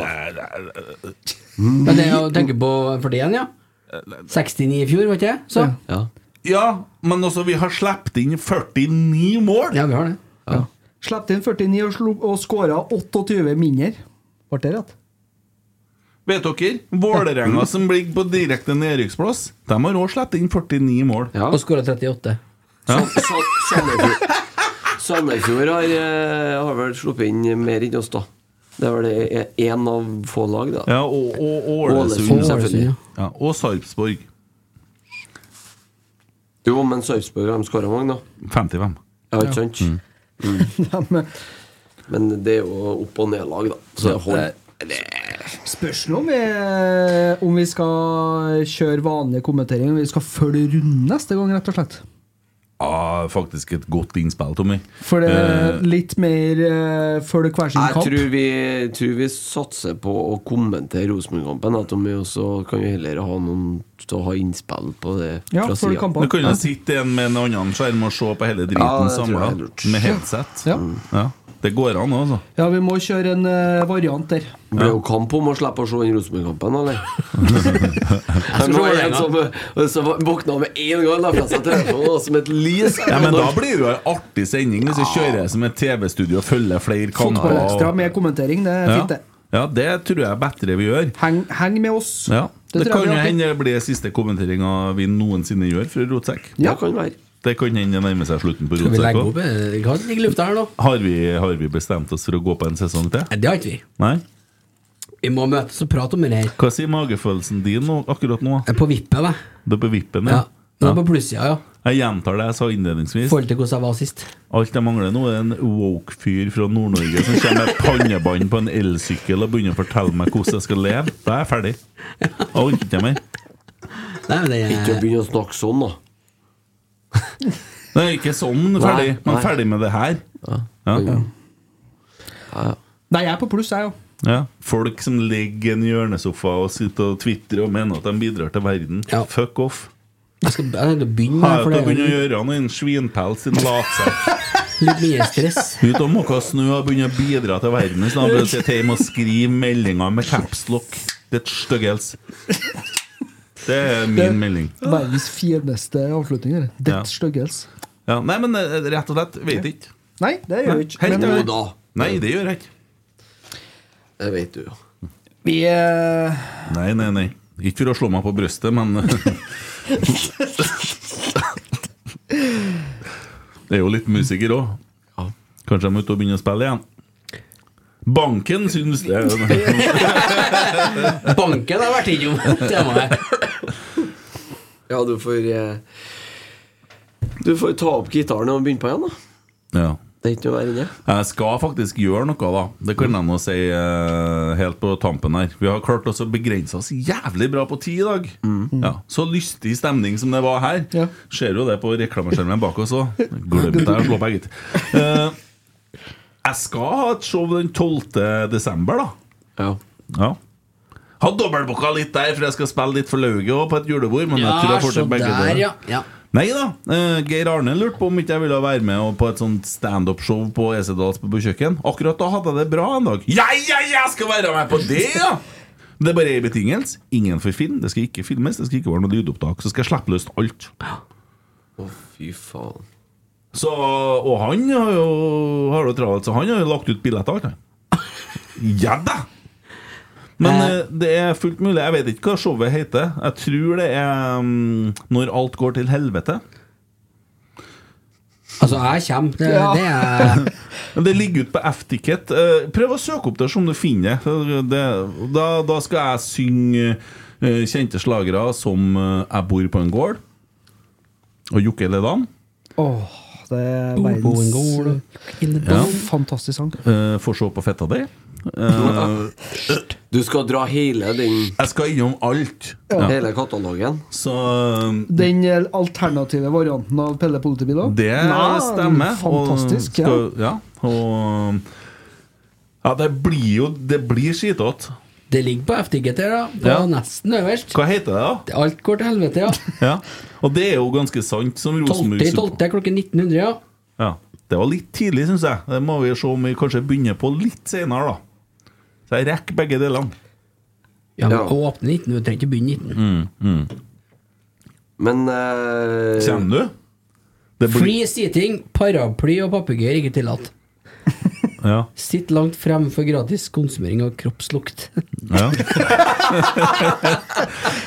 B: Mm.
C: Men det er å tenke på 41, ja. 69 i fjor, var ikke det? Så?
B: Ja.
A: Ja, men altså, vi har sluppet inn 49 mål!
C: Ja, vi har det.
D: Slapp inn 49 og, slo- og skåra 28 mindre. Ble det rett?
A: Vet dere, Vålerenga som ligger på direkte nedrykksplass, de har òg sluppet inn 49 mål.
B: ja.
C: Og skåra 38.
B: Sa- Sandefjord Sandefjord har, eh, har vel sluppet inn mer enn oss, da. Det er vel én av få lag, da.
A: Ja, og, og
B: Ålesund,
A: Ålesund.
B: selvfølgelig.
A: Ja, og Sarpsborg.
B: Jo, men Sarpsborg har skåra mange, da.
A: 55.
B: Ja, ikke sant?
A: Mm.
B: Mm.
D: (laughs) De
B: Men det er jo opp- og nedlag, da. Så det holder.
D: spørs nå om vi, om vi skal kjøre vanlig kommentering. Om vi skal følge runden neste gang, rett og slett.
A: Ja, faktisk et godt innspill, Tommy.
D: For det
A: Eh.
D: er litt mer uh, følge hver sin
B: Jeg
D: kamp.
B: tror vi, tror vi satser på å kommentere Rosenborg-kampen. At vi også kan vi heller ha noen til å ha innspill på det
D: Ja,
B: fra
D: følge
B: sida.
A: Du
D: kampene.
A: kan jo sitte en med en annen skjerm og se på hele driten
B: Ja, det tror jeg
A: samla.
B: er lurt.
A: Med headset.
D: Ja.
A: Ja, Det går an, altså.
D: Ja, vi må kjøre en eh, variant der.
B: Blir det jo kamp om å slippe å se inn Rosenborg-kampen,
A: (laughs)
B: eller? (laughs)
C: se
B: Men nå er det en
C: Vålerenga.
B: som eh, som våkna med en gang, la fra seg telefonen og som et lys.
A: Ja, men da blir det jo en artig sending hvis vi kjører som et TV-studio og følger flere kanaler.
D: Fotballekstra
A: og-
D: med kommentering, det er
A: Ja.
D: fint, det.
A: Ja, det tror jeg bedre vi gjør.
D: Heng, heng med oss.
A: Ja.
D: Det
A: Det,
D: tror jeg
A: kan
D: blir
A: jo
D: artig.
A: hende det blir siste kommenteringa vi noensinne gjør fra Rotsekk.
B: Ja, kan være.
A: Det kan hende det nærmer seg slutten på
C: Skal vi
A: Rotsekk
C: legge
A: òg.
C: opp? eh, Vi kan ligge i lufta her nå.
A: Har, vi- har vi bestemt oss for å gå på en sesong til?
C: Nei, det har ikke vi.
A: Nei?
C: Vi må møtes og prate om det her.
A: Hva sier magefølelsen din nå, akkurat nå?
C: Jeg er på vippet, da.
A: Du er på vippen,
C: Ja.
A: ja?
C: Nå er
A: ja.
C: jeg på plussida, ja.
A: Jeg gjentar det jeg sa
C: I
A: innledningsvis.
C: forhold til hvordan jeg var sist.
A: Alt jeg mangler nå, er en woke-fyr fra Nord-Norge som kommer med pannebånd på en elsykkel og begynner å fortelle meg hvordan jeg skal leve. Da er jeg ferdig. Jeg orker ikke mer.
C: Nei, men det
B: Eh. Ikke
C: er
B: begynn å snakke sånn, da.
A: Det er ikke sånn ferdig, men
B: nei.
A: ferdig med det her. Ja.
D: Nei, jeg er på pluss, jeg, jo.
A: Ja. Folk som ligger i en hjørnesofa og sitter og twitrer og mener at de bidrar til verden.
C: Ja.
A: Fuck off.
C: Jeg skal jeg skal begynne
A: Har
C: her, for
A: jo ikke begynt å
C: det er
A: gjøre noe innen svinpels sin latsak.
C: litt mye stress.
A: (laughs) Ut og måke snø og begynne å bidra til verden istedenfor å sitte hjemme og skrive meldinger med capslock. Det er et styggels. Det er min melding.
D: Verdens fineste avslutning. dere.
A: Ja.
D: Det styggels.
A: Ja, nei, men eh, rett og slett, vet ikke.
D: Nei, det gjør vi ikke.
A: Helt
D: Men, eh,
A: ærlig.
B: Jo da.
A: Nei, det gjør jeg ikke.
B: Det vet du jo.
D: vi, eh,
A: Nei, nei, nei. Ikke for å slå meg på brystet, men eh,
D: (laughs)
A: Det er jo litt musiker òg. Kanskje de er ute og begynner å spille igjen. Banken syns det
C: (laughs) (laughs) Banken har vært innom (laughs) temaet.
B: Ja, du får eh, Du får ta opp gitaren og begynne på igjen, da.
A: ja.
B: Det er ikke noe verre enn det.
A: Jeg skal faktisk gjøre noe, da. Det kan jeg nå si eh, helt på tampen her. Vi har klart oss å begrense oss jævlig bra på ti i dag.
B: Mm.
A: Ja. Så lystig stemning som det var her.
D: Ja.
A: Ser jo det på reklameskjermen bak oss òg. Glemte jeg å slå på eget. Eh, jeg skal ha et show den 12. desember, da.
B: Ja.
A: Ja. Har dobbeltbooka litt der, for jeg skal spille litt for lauget òg, på et julebord. Men jeg tror
C: Ja,
A: jeg får
C: så
A: til begge
C: der,
A: deler.
C: ja. ja.
A: Nei da. eh, Geir Arne lurte på om ikke jeg ville være med og på et sånt standup-show på Esedals på kjøkken. Akkurat da hadde jeg det bra en dag. Ja, ja, ja, jeg skal være med på det, ja! Men Det er bare ei betingelse. Ingen får film. Det skal ikke filmes. Det skal ikke være noe lydopptak. Så skal jeg slippe løs alt.
B: Å, fy faen.
A: Så, og han har jo har det travelt, så han har jo lagt ut billetter. alt, han. Ja da! Men
C: Eh.
A: eh, det er fullt mulig. Jeg vet ikke hva showet heter. Jeg tror det er mm, 'Når alt går til helvete'.
C: Altså, jeg kommer. Det, det er
A: (laughs) Men det ligger ute på F-ticket. Eh, Prøv å søke opp det som du finner det. Det- Da, da skal jeg synge eh, kjente slagere som eh, 'Jeg bor på en gård' og 'Jokke Ledan'.
D: åh, det er
C: Bo- bo- en
D: verdens
C: god-
D: Ja. Fantastisk sang.
A: Eh, Får se på fetta di. Eh,
B: Du skal dra hele den
A: Jeg skal innom alt. Ja.
B: Hele katalogen.
A: Så eh,
D: Den eh, alternative varianten av Pelle Politibil òg?
A: det stemmer. og
D: Fantastisk. Ja.
A: skal- ja. Og um, Ja, det blir jo Det blir skitete.
C: Det ligger på FTGT, da. På
A: Ja.
C: nesten øverst.
A: Hva heter det, da?
C: Alt går til helvete, ja.
A: (laughs) Ja. Og det er jo ganske sant, som
C: 12.12.
A: Rosenborg
C: klokken 1900, ja.
A: Ja, Det var litt tidlig, syns jeg. Det må vi se om vi kanskje begynner på litt senere, da. Så jeg rekker begge delene.
C: ja men,
B: Ja.
C: Å åpne 19, vi trenger ikke begynne 19.
A: Mm.
B: Men eh,
A: Kommer du? Det blir-
C: Free seating, paraply og papegøyer ikke tillatt.
A: Ja.
C: Sitt langt frem for gratis konsumering av kroppslukt.
A: ja.
C: (laughs)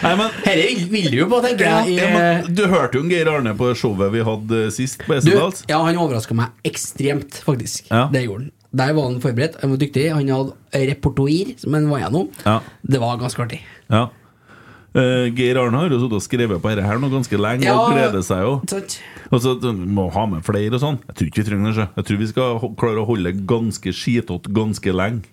A: Nei, men,
C: Dette vil du jo på, tenker jeg. eh,
A: ja, men Du hørte jo en Geir Arne på showet vi hadde eh, sist på
C: Du,
A: Esendals.
C: ja, han overraska meg ekstremt, faktisk.
A: Ja.
C: Det gjorde han. Der var han forberedt, han var dyktig. Han hadde repertoir som han var gjennom.
A: Ja.
C: Det var ganske artig.
A: Ja. Eh, Geir Arne har jo sittet og skrevet på dette her nå ganske lenge og
C: Ja.
A: gleder seg jo.
C: Sant?
A: Og så må ha med flere og sånn. Jeg tror ikke vi trenger det. sjø. Jeg tror vi skal ho- klare å holde ganske skitete ganske lenge.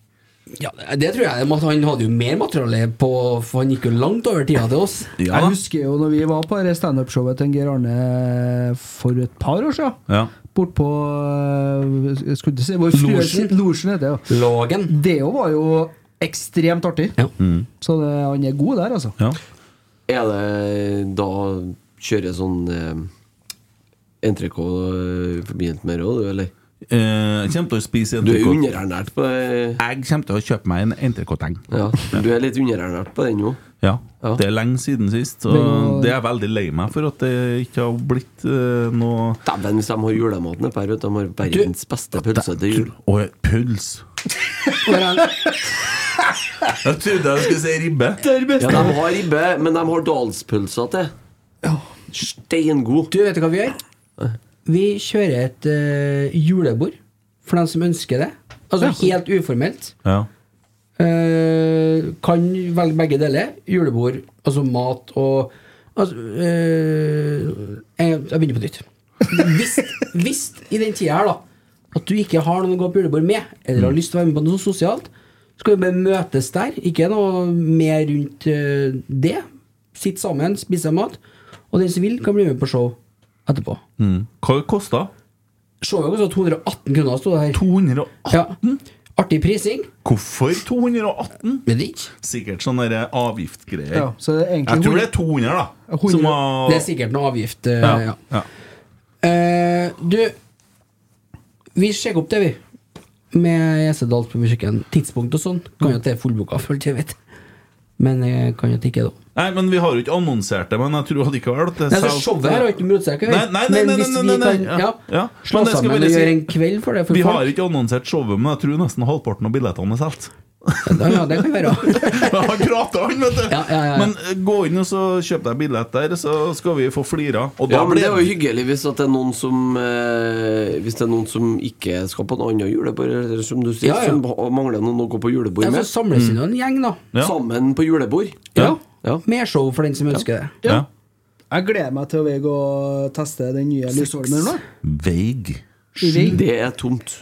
C: Ja, det tror jeg. men Han hadde jo mer materiale på For han gikk jo langt over tida til oss.
A: Ja,
D: Jeg
A: da.
D: husker jo når vi var på det standup-showet til Geir Arne Eh, for et par år siden.
A: Ja.
D: Bort på eh, jeg skulle ikke si, hvor frue-
C: Losjen.
D: Losjen heter det, ja.
C: Lågen.
D: Det jo var jo ekstremt artig.
C: Ja.
D: Så det, han er god der, altså.
A: Ja.
B: er det da kjører sånn eh, NTRK eh, forbindet med råd, du, eller?
A: Eh, jeg kommer til å spise
B: Du er jo
A: entrecôte.
B: underernært på det.
A: Jeg kommer til å kjøpe meg en entrecôteng.
B: Ja, du er litt underernært på den nå.
A: Ja.
B: Ja.
A: Det er lenge siden sist,
D: Men-
A: og det er jeg veldig lei meg for at det ikke har blitt eh, noe
B: Dæven, hvis de har julematen oppe her, vet du. De har verdens beste pølse til jul.
A: Og pøls.
C: Hvor han-
A: Jeg trodde jeg skulle si ribbe.
B: Ja, de har ribbe, men de har dalspølser til. Steingod.
C: Du, vet du hva vi gjør? Vi kjører et eh, julebord for dem som ønsker det. Altså helt uformelt.
A: Ja.
C: Eh, kan velge begge deler. Julebord, altså mat og altså, eh, jeg, jeg begynner på nytt. Hvis, hvis i den tida her da at du ikke har noen å gå på julebord med, eller har lyst til å være med på noe sosialt, så skal vi bare møtes der. Ikke noe mer rundt eh, det. Sitte sammen, spise mat. Og den som vil, kan bli med på show etterpå.
A: Mm. Hva kosta?
C: Showet kostet 218 kroner, sto det her.
A: 218?
C: Ja. Artig prising.
A: Hvorfor 218?
C: Vet ikke.
A: Sikkert sånne der avgiftgreier.
D: Ja, så det er egentlig
A: jeg tror det er 200, da.
D: 100.
A: Som har
C: Det er sikkert noe avgift. eh,
A: ja.
C: ja.
A: Ja.
C: Eh, du Vi sjekker opp det, vi. Med Gjesedal på musikken. Tidspunkt og sånn. Kan jo at det er fullboka, for alt jeg vet. Men jeg kan jo at det ikke er det.
A: Nei, men vi har jo ikke annonsert det, men jeg tror allikevel at det
C: Nei, så Showet her har ikke noe motsetning.
A: Nei, nei, nei, nei,
C: Men hvis
A: nei,
C: vi
A: nei, nei,
C: kan
A: ja,
C: ja,
A: ja.
C: slå
A: Men jeg skal
C: sammen
A: bare
C: og
A: si-
C: gjøre en kveld for det for
A: Vi
C: folk
A: har ikke annonsert showet, men jeg tror nesten halvparten av billettene er solgt.
C: ja, ja, det kan være.
A: (laughs) Han prater, han, vet du.
C: Ja, ja, ja.
A: Men eh, gå inn og så kjøp deg billett der, så skal vi få flira. Og da
B: Ja, men
A: blir
B: det er jo hyggelig hvis at det er noen som eh, Hvis det er noen som ikke skal på en annen julebord, eller som du sier,
C: Ja, ja.
B: som ha- mangler noen å gå på julebord
C: Ja, så
B: med.
C: samles det jo en gjeng, da.
A: Mm. Ja.
B: Sammen på julebord.
C: Ja.
B: Ja.
C: Mer show for den som ønsker det.
A: ja.
D: Jeg gleder meg til å vei gå og teste den nye lysholmen nå.
A: Veig.
D: I Vig.
B: Det er tomt.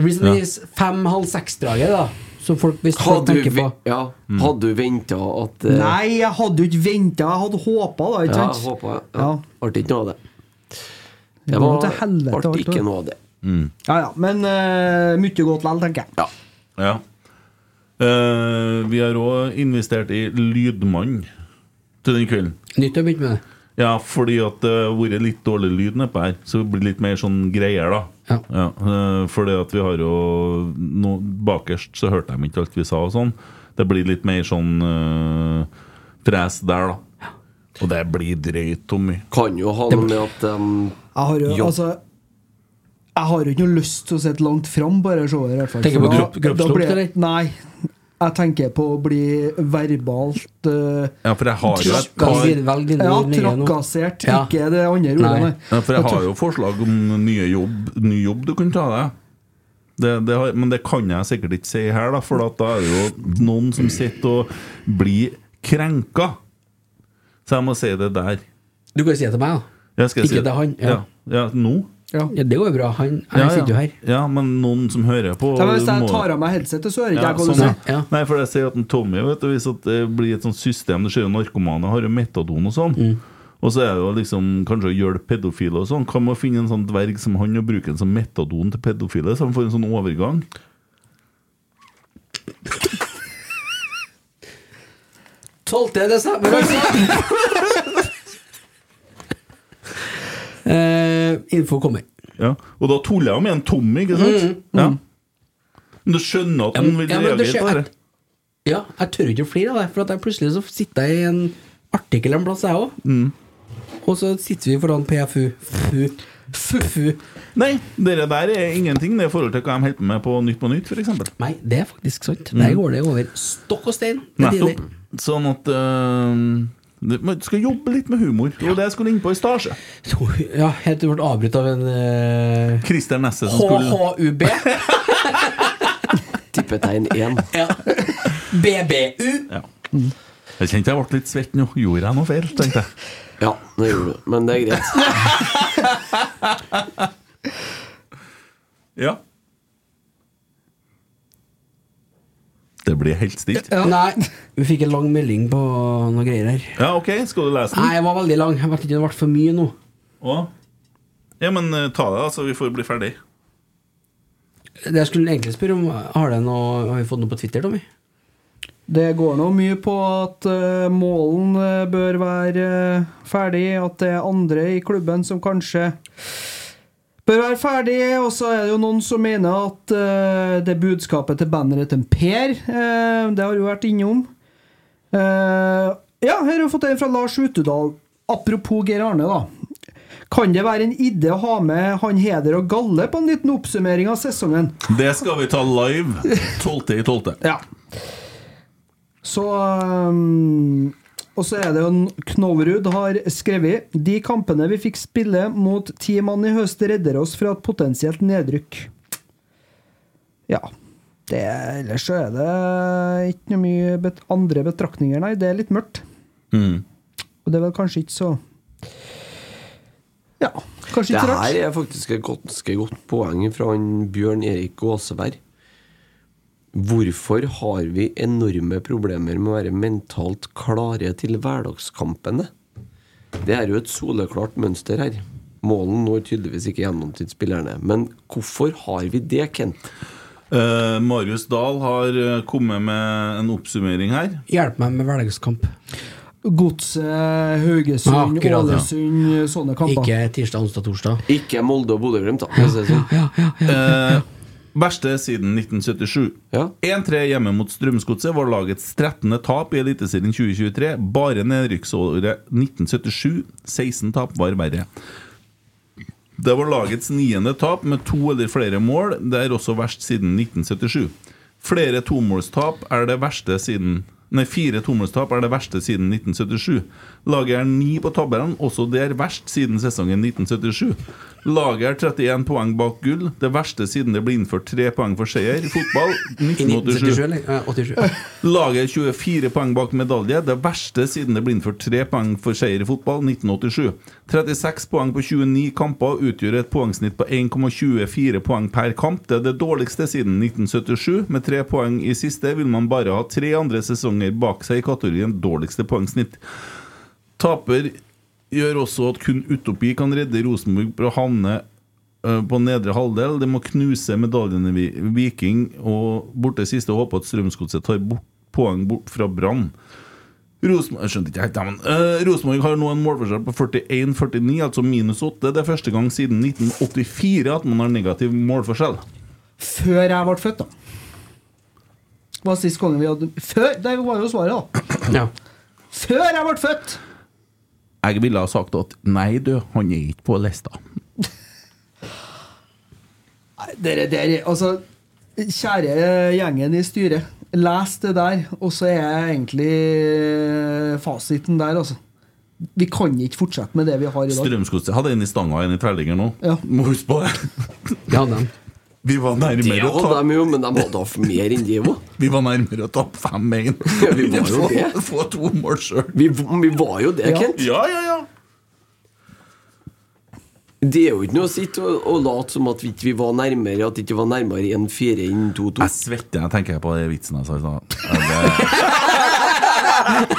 C: Det blir sånn ja. fem-halv seks-draget, da. Som folk, hvis folk
B: Hadde du,
C: tenker på.
B: ve- ja,
A: Mm.
B: hadde du venta at eh,
D: Nei, jeg hadde jo ikke venta. Jeg hadde håpa, da. Ikke
B: Ja,
D: sant?
B: håpa jeg. Ja.
D: Ja.
B: Artig ikke noe av det.
D: Det
B: Det
D: går
B: var
D: til helvete,
B: artig
D: alt
B: ikke
D: det.
B: noe av det.
A: Mm.
D: ja, ja. Men eh, mye godt likevel, tenker jeg.
B: Ja.
A: Ja. Eh, vi har òg investert i lydmann til den kvelden.
C: Nytt å begynne med det.
A: Ja, fordi at det har vært litt dårlig lyd nedpå her, så det blir litt mer sånn greier, da.
C: Ja.
A: eh, fordi at vi har jo no, Bakerst så hørte de ikke alt vi sa og sånn. Det blir litt mer sånn eh, fres der, da. Og det blir drøyt, Tommy.
B: Kan jo ha noe med at um,
D: Jeg har jo,
B: Jo.
D: altså Jeg har jo ikke noe lyst til å sitte langt fram på dette showet. i hvert fall,
C: Tenker
D: for
C: på
D: da-
C: kropp- kroppslukt,
D: da blir-
C: eller?
D: Nei. Jeg tenker på å bli verbalt eh,
A: Ja, for jeg har jo et
C: Trakkas-
A: par
C: Velg dine
D: Ja,
C: nye nå.
D: trakassert.
C: Ja.
D: Ikke det andre ordet,
C: Nei.
D: nei.
A: ja, For jeg har jo forslag om nye jobb, ny jobb du kunne ta deg. Det, det har, men det kan jeg sikkert ikke si her, da, for at da er det jo noen som sitter og blir krenka. Så jeg må si det der.
C: Du kan si det til meg, da.
A: Jeg skal
C: Ikke
A: si
C: til han, ja.
A: Ja, ja, nå?
D: Ja.
C: Ja, det går jo bra. Han, han
A: Ja,
C: sitter jo
A: ja.
C: her.
A: ja, men noen som hører på
D: Ja, men Hvis jeg
A: må-
D: tar av meg headsetet, så hører ikke
A: ja,
D: jeg hva du
A: sånn,
D: sier.
C: Ja.
A: ja. Nei, for jeg sier at en Tommy vet du, Hvis at det blir et sånt system Det skjer jo narkomane, har jo metadon og sånn
C: Mm.
A: Og så er det jo liksom Kanskje å gjøre pedofile og sånn Kan man finne en sånn dverg som han Og bruke en sånn metadon til pedofile Så han får en sånn overgang
C: Tolvte desember, altså! Eh, info kommer. Mm,
A: ja. Og da tuller jeg med en Tommy, ikke sant? Ja. Men du skjønner at
C: Ja,
A: han
C: men-
A: vil
C: ja, men det
A: reagere
C: skjer-
A: på det
C: Ja, jeg tør ikke å flire av det, for at jeg plutselig så sitter jeg i en artikkel en plass, jeg òg.
A: Mm.
C: Og så sitter vi foran PFU. Fu. Fu. Fu.
A: Nei, dere der er ingenting Det er i forhold til hva de helper med på Nytt på Nytt for eksempel Mm.
C: Nei, det er faktisk sant. Der går det over stokk og stein. Det er
A: Nettopp.
C: tidlig.
A: Sånn at øh, det- Man skal jobbe litt med humor. Det var det jeg skulle inn på i stasje.
C: Så, Ja, helt til du ble avbrutt av en eh,
A: Christer Nesse som skulle
C: HHUB.
B: tippetegn 1
A: (laughs)
C: Ja. BBU.
A: ja. Jeg kjente jeg ble litt svett nå. Gjorde jeg noe feil? tenkte jeg
B: Ja, det gjorde du. Men det er greit.
A: Ja Det blir helt stilt.
C: Nei, vi fikk en lang melding på noe greier her.
A: Ja, OK, skal du lese
C: Nei,
A: den?
C: jeg var veldig lang. Jeg vet ikke, det ble for mye nå.
A: Å? Ja, men øh, ta det, da, så vi får bli ferdig.
C: Det jeg skulle egentlig spørre om, har, det noe, har vi fått noe på Twitter, Tommy?
D: Det går nå mye på at eh, målen eh, bør være eh, ferdig, at det er andre i klubben som kanskje bør være ferdig, og så er det jo noen som mener at eh, det budskapet til banneret til Per, eh, det har jo vært innom. Eh, ja, her har vi fått en fra Lars Utedal. Apropos Geir Arne, da. Kan det være en idé å ha med han Heder og Galle på en liten oppsummering av sesongen?
A: Det skal vi ta live 12.12.
D: Ja. Så um, Og så er det jo en- Knoverud har skrevet De kampene vi fikk spille mot ti mann i høst, redder oss fra et potensielt nedrykk. Ja. Det, ellers så er det ikke noe mye bet andre betraktninger, nei. Det er litt mørkt.
A: Mm.
D: Og det er vel kanskje ikke så Ja, kanskje
B: Det
D: ikke så rart.
B: her er faktisk et ganske godt poeng fra han Bjørn Erik Gåseberg. Hvorfor har vi enorme problemer med å være mentalt klare til hverdagskampene? Det er jo et soleklart mønster her. Målen når tydeligvis ikke gjennom til spillerne. Men hvorfor har vi det, Kent?
A: Eh, Marius Dahl har eh, kommet med en oppsummering her.
C: Hjelp meg med hverdagskamp.
D: Godset, Haugesund,
C: Akkurat, ja.
D: Ålesund, sånne kamper.
C: Ikke tirsdag, onsdag, torsdag.
B: Ikke Molde og Bodø-Glimt, da. for å si det sånn.
A: Eh, verste siden 1977.
B: Ja.
A: 1-3 hjemme mot Strømsgodset var lagets 13. tap i Eliteserien 2023. Bare nedrykksåret 1977. 16 tap var verre. Det var lagets niende tap med to eller flere mål. Det er også verst siden 1977. Flere tomålstap er det verste siden Nei, fire tomålstap er det verste siden 1977. Laget er ni på tabellen, også det er verst siden sesongen 1977. Laget er 31 poeng bak gull, det verste siden det ble innført tre poeng for seier i fotball
C: I 1977,
A: 1987.
C: eller? Eh, 87.
A: Laget er 24 poeng bak medalje, det verste siden det ble innført tre poeng for seier i fotball 1987. 36 poeng på 29 kamper utgjør et poengsnitt på 1,24 poeng per kamp. Det er det dårligste siden 1977. Med tre poeng i siste vil man bare ha tre andre sesonger bak seg i kategorien dårligste poengsnitt. Taper gjør også at kun utopi kan redde Rosenborg fra å havne eh, på nedre halvdel. De må knuse medaljene Vi- Viking og borte siste og håpe at Strømsgodset tar bort, poeng bort fra Brann. Rosenborg jeg skjønte ikke helt, men, eh, Rosenborg har nå en målforskjell på 41-49, altså minus 8. Det er første gang siden 1984 at man har negativ målforskjell.
D: Før jeg ble født, da. Var sist gang vi hadde Før! Det var jo svaret, da.
C: Ja.
D: Før jeg ble født!
A: Jeg ville ha sagt at nei, du, han er ikke på lista.
D: Nei, Dere der Altså, kjære gjengen i styret. Les det der, og så er egentlig fasiten der, altså. Vi kan ikke fortsette med det vi har i dag.
A: Strømsgodset hadde en i stanga og en i tverrligger nå.
D: Ja.
A: Må huske på det.
C: Ja, den.
A: (laughs) Vi var
B: Det
A: nærmere å
B: hadde
A: ta
B: de jo, men de hadde hatt mer enn det òg.
A: (laughs) Vi var nærmere å tape 5-1.
B: Ja, vi var jo det.
A: Få, få to mål sjøl.
B: Vi, vi var jo det,
D: Ja.
B: Kent.
A: Ja, ja, ja.
B: Det er jo ikke noe å sitte og, og late som at vi ikke var nærmere At det ikke var nærmere 1-4 enn 2-2.
A: Jeg svetter når jeg tenker på den vitsen jeg sa i stad. Jeg
D: (laughs)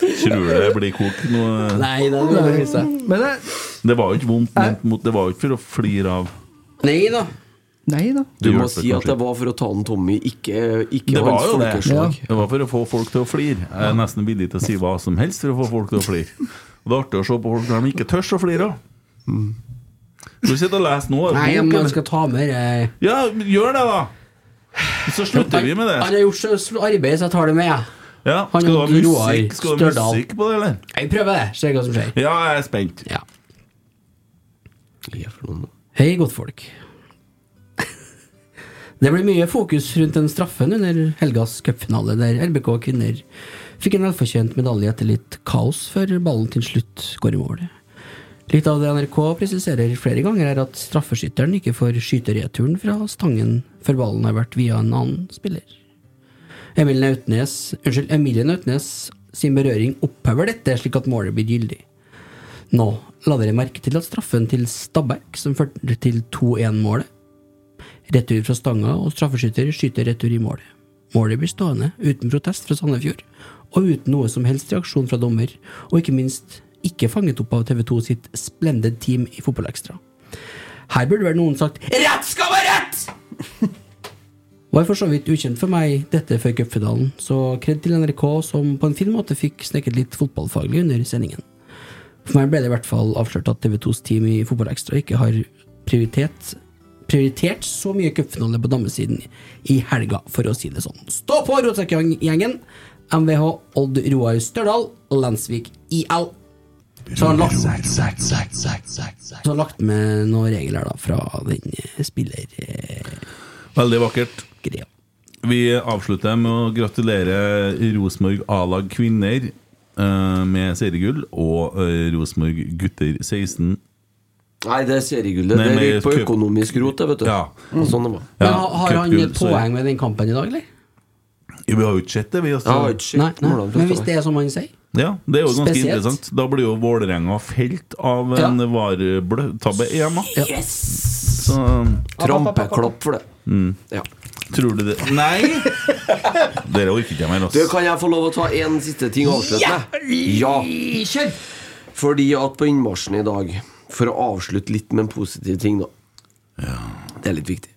A: ble- Tror det blir kok nå.
C: Nei, den vil jeg vise.
D: Men eh, det
A: Det var jo ikke vondt ment mot Det var jo ikke for å flire av.
C: Nei da.
D: Nei da.
B: Du
A: Det
B: må
A: hjelper
B: si at
A: kanskje
B: det var for å ta den Tommy, ikke, ikke
A: Det var
B: hans
A: jo det.
B: folkeslag.
A: Det var for å få folk til å flire. Jeg er nesten villig til å si hva som helst for å få folk til å flire. Og det er artig å se på folk når de ikke tør å flire.
B: Mm.
A: Du sitter og leser nå.
C: Nei,
A: boken.
C: men jeg skal ta med eh,
A: Ja, gjør det, da! Så slutter vi med det.
C: Han har gjort så så arbeid, så jeg tar det med, jeg.
A: Ja,
C: Han
A: skal du ha
C: og Roar
A: musikk, skal du ha
C: Størdal.
A: musikk på det, eller?
C: Jeg prøver det. Ser hva som skjer.
A: Ja, jeg er spent.
C: Ja.
B: Ja, for noen-
C: Hei, godtfolk. Det ble mye fokus rundt den straffen under helgas cupfinale, der RBK kvinner fikk en velfortjent medalje etter litt kaos før ballen til slutt går i mål. Litt av det NRK presiserer flere ganger, er at straffeskytteren ikke får skyte returen fra stangen før ballen har vært via en annen spiller. Emil Nautnes, unnskyld, Emilie Nautnes sin berøring opphever dette, slik at målet blir gyldig. Nå la dere merke til at straffen til Stabæk, som førte til 2-1-målet Retur fra stanga, og straffeskytter skyter retur i målet. Målet blir stående, uten protest fra Sandefjord, og uten noe som helst reaksjon fra dommer, og ikke minst ikke fanget opp av TV2 sitt Splendid Team i Fotballekstra. Her burde vel noen sagt 'Rett skal være rett!' (laughs) var for så vidt ukjent for meg dette før cupfinalen, så kred til NRK som på en fin måte fikk snekket litt fotballfaglig under sendingen. For meg ble det i hvert fall avslørt at TV2s team i Fotball Extra ikke har prioritet, prioritert så mye cupfinale på damesiden i helga, for å si det sånn. Stå på, Rotsekk-gjengen! MVH Odd Roar Størdal, Landsvik IL. Så har han lagt, så har han lagt med noen regler da, fra den eh, spillergreia.
A: Veldig vakkert. Vi avslutter med å gratulere Rosenborg A-lag kvinner eh, med seriegull og eh, Rosenborg gutter 16.
B: Nei, det er seriegullet.
A: Nei,
B: Det
A: men
B: gikk på
A: cup-
B: økonomisk rot, det, vet du.
A: Ja.
B: Og Sånn det var.
C: Men
A: Ja,
C: ha- har han
A: cupgull,
C: et
A: så-
C: poeng med den kampen i dag, eller?
A: Ja, Vi har jo ikke sett det, vi. altså.
B: Jeg har ikke
C: Nei,
B: sjekket
C: nei.
B: målene fra
C: Men hvis
B: før.
C: det er som han sier,
A: Ja, Det er jo ganske
C: Spesielt.
A: interessant. Da blir jo Vålerenga felt av
C: Ja.
A: en varetabbe i EMA.
C: Ja.
A: Så
B: Trampeklapp for det. Ja.
A: Mm. tror du det Nei! Dere orker ikke jeg mer,
B: Du,
A: altså.
B: kan jeg få lov å ta en siste ting og avslutte med? Ja! Fordi at på innmarsjen i dag, for å avslutte litt med en positiv ting, da Det er litt viktig.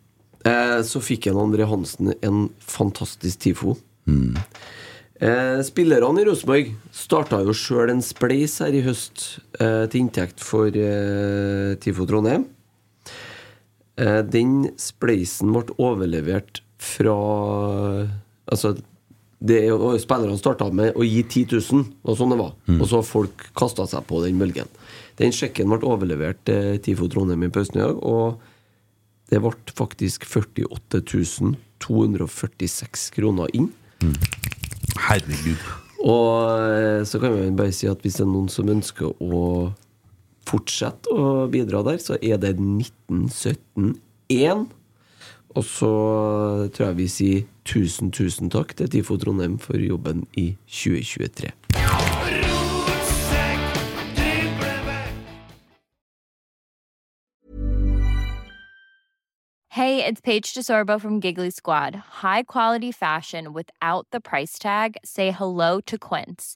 B: Eh, så fikk en André Hansen en fantastisk TIFO.
A: Mm.
B: Eh, spillerne i Rosenborg starta jo sjøl en spleis her i høst eh, til inntekt for eh, TIFO Trondheim. Eh, den spleisen ble overlevert fra Altså, det er jo- spillerne starta med å gi 10 000, og sånn det var. Og så har folk kasta seg på den bølgen. Den sjekken ble overlevert eh, TIFO Trondheim i pausen i dag, og det ble faktisk 48 246 kroner inn.
A: Herregud.
B: Og eh, så kan vi vel bare si at hvis det er noen som ønsker å fortsette å bidra der, så er det 1917-1. Og så tror jeg vi sier tusen, tusen takk til Tifo Trondheim for jobben i 2023.
H: Hey, it's Paige DeSorbo from Giggly Squad. High quality fashion without the price tag. Say hello to Quince.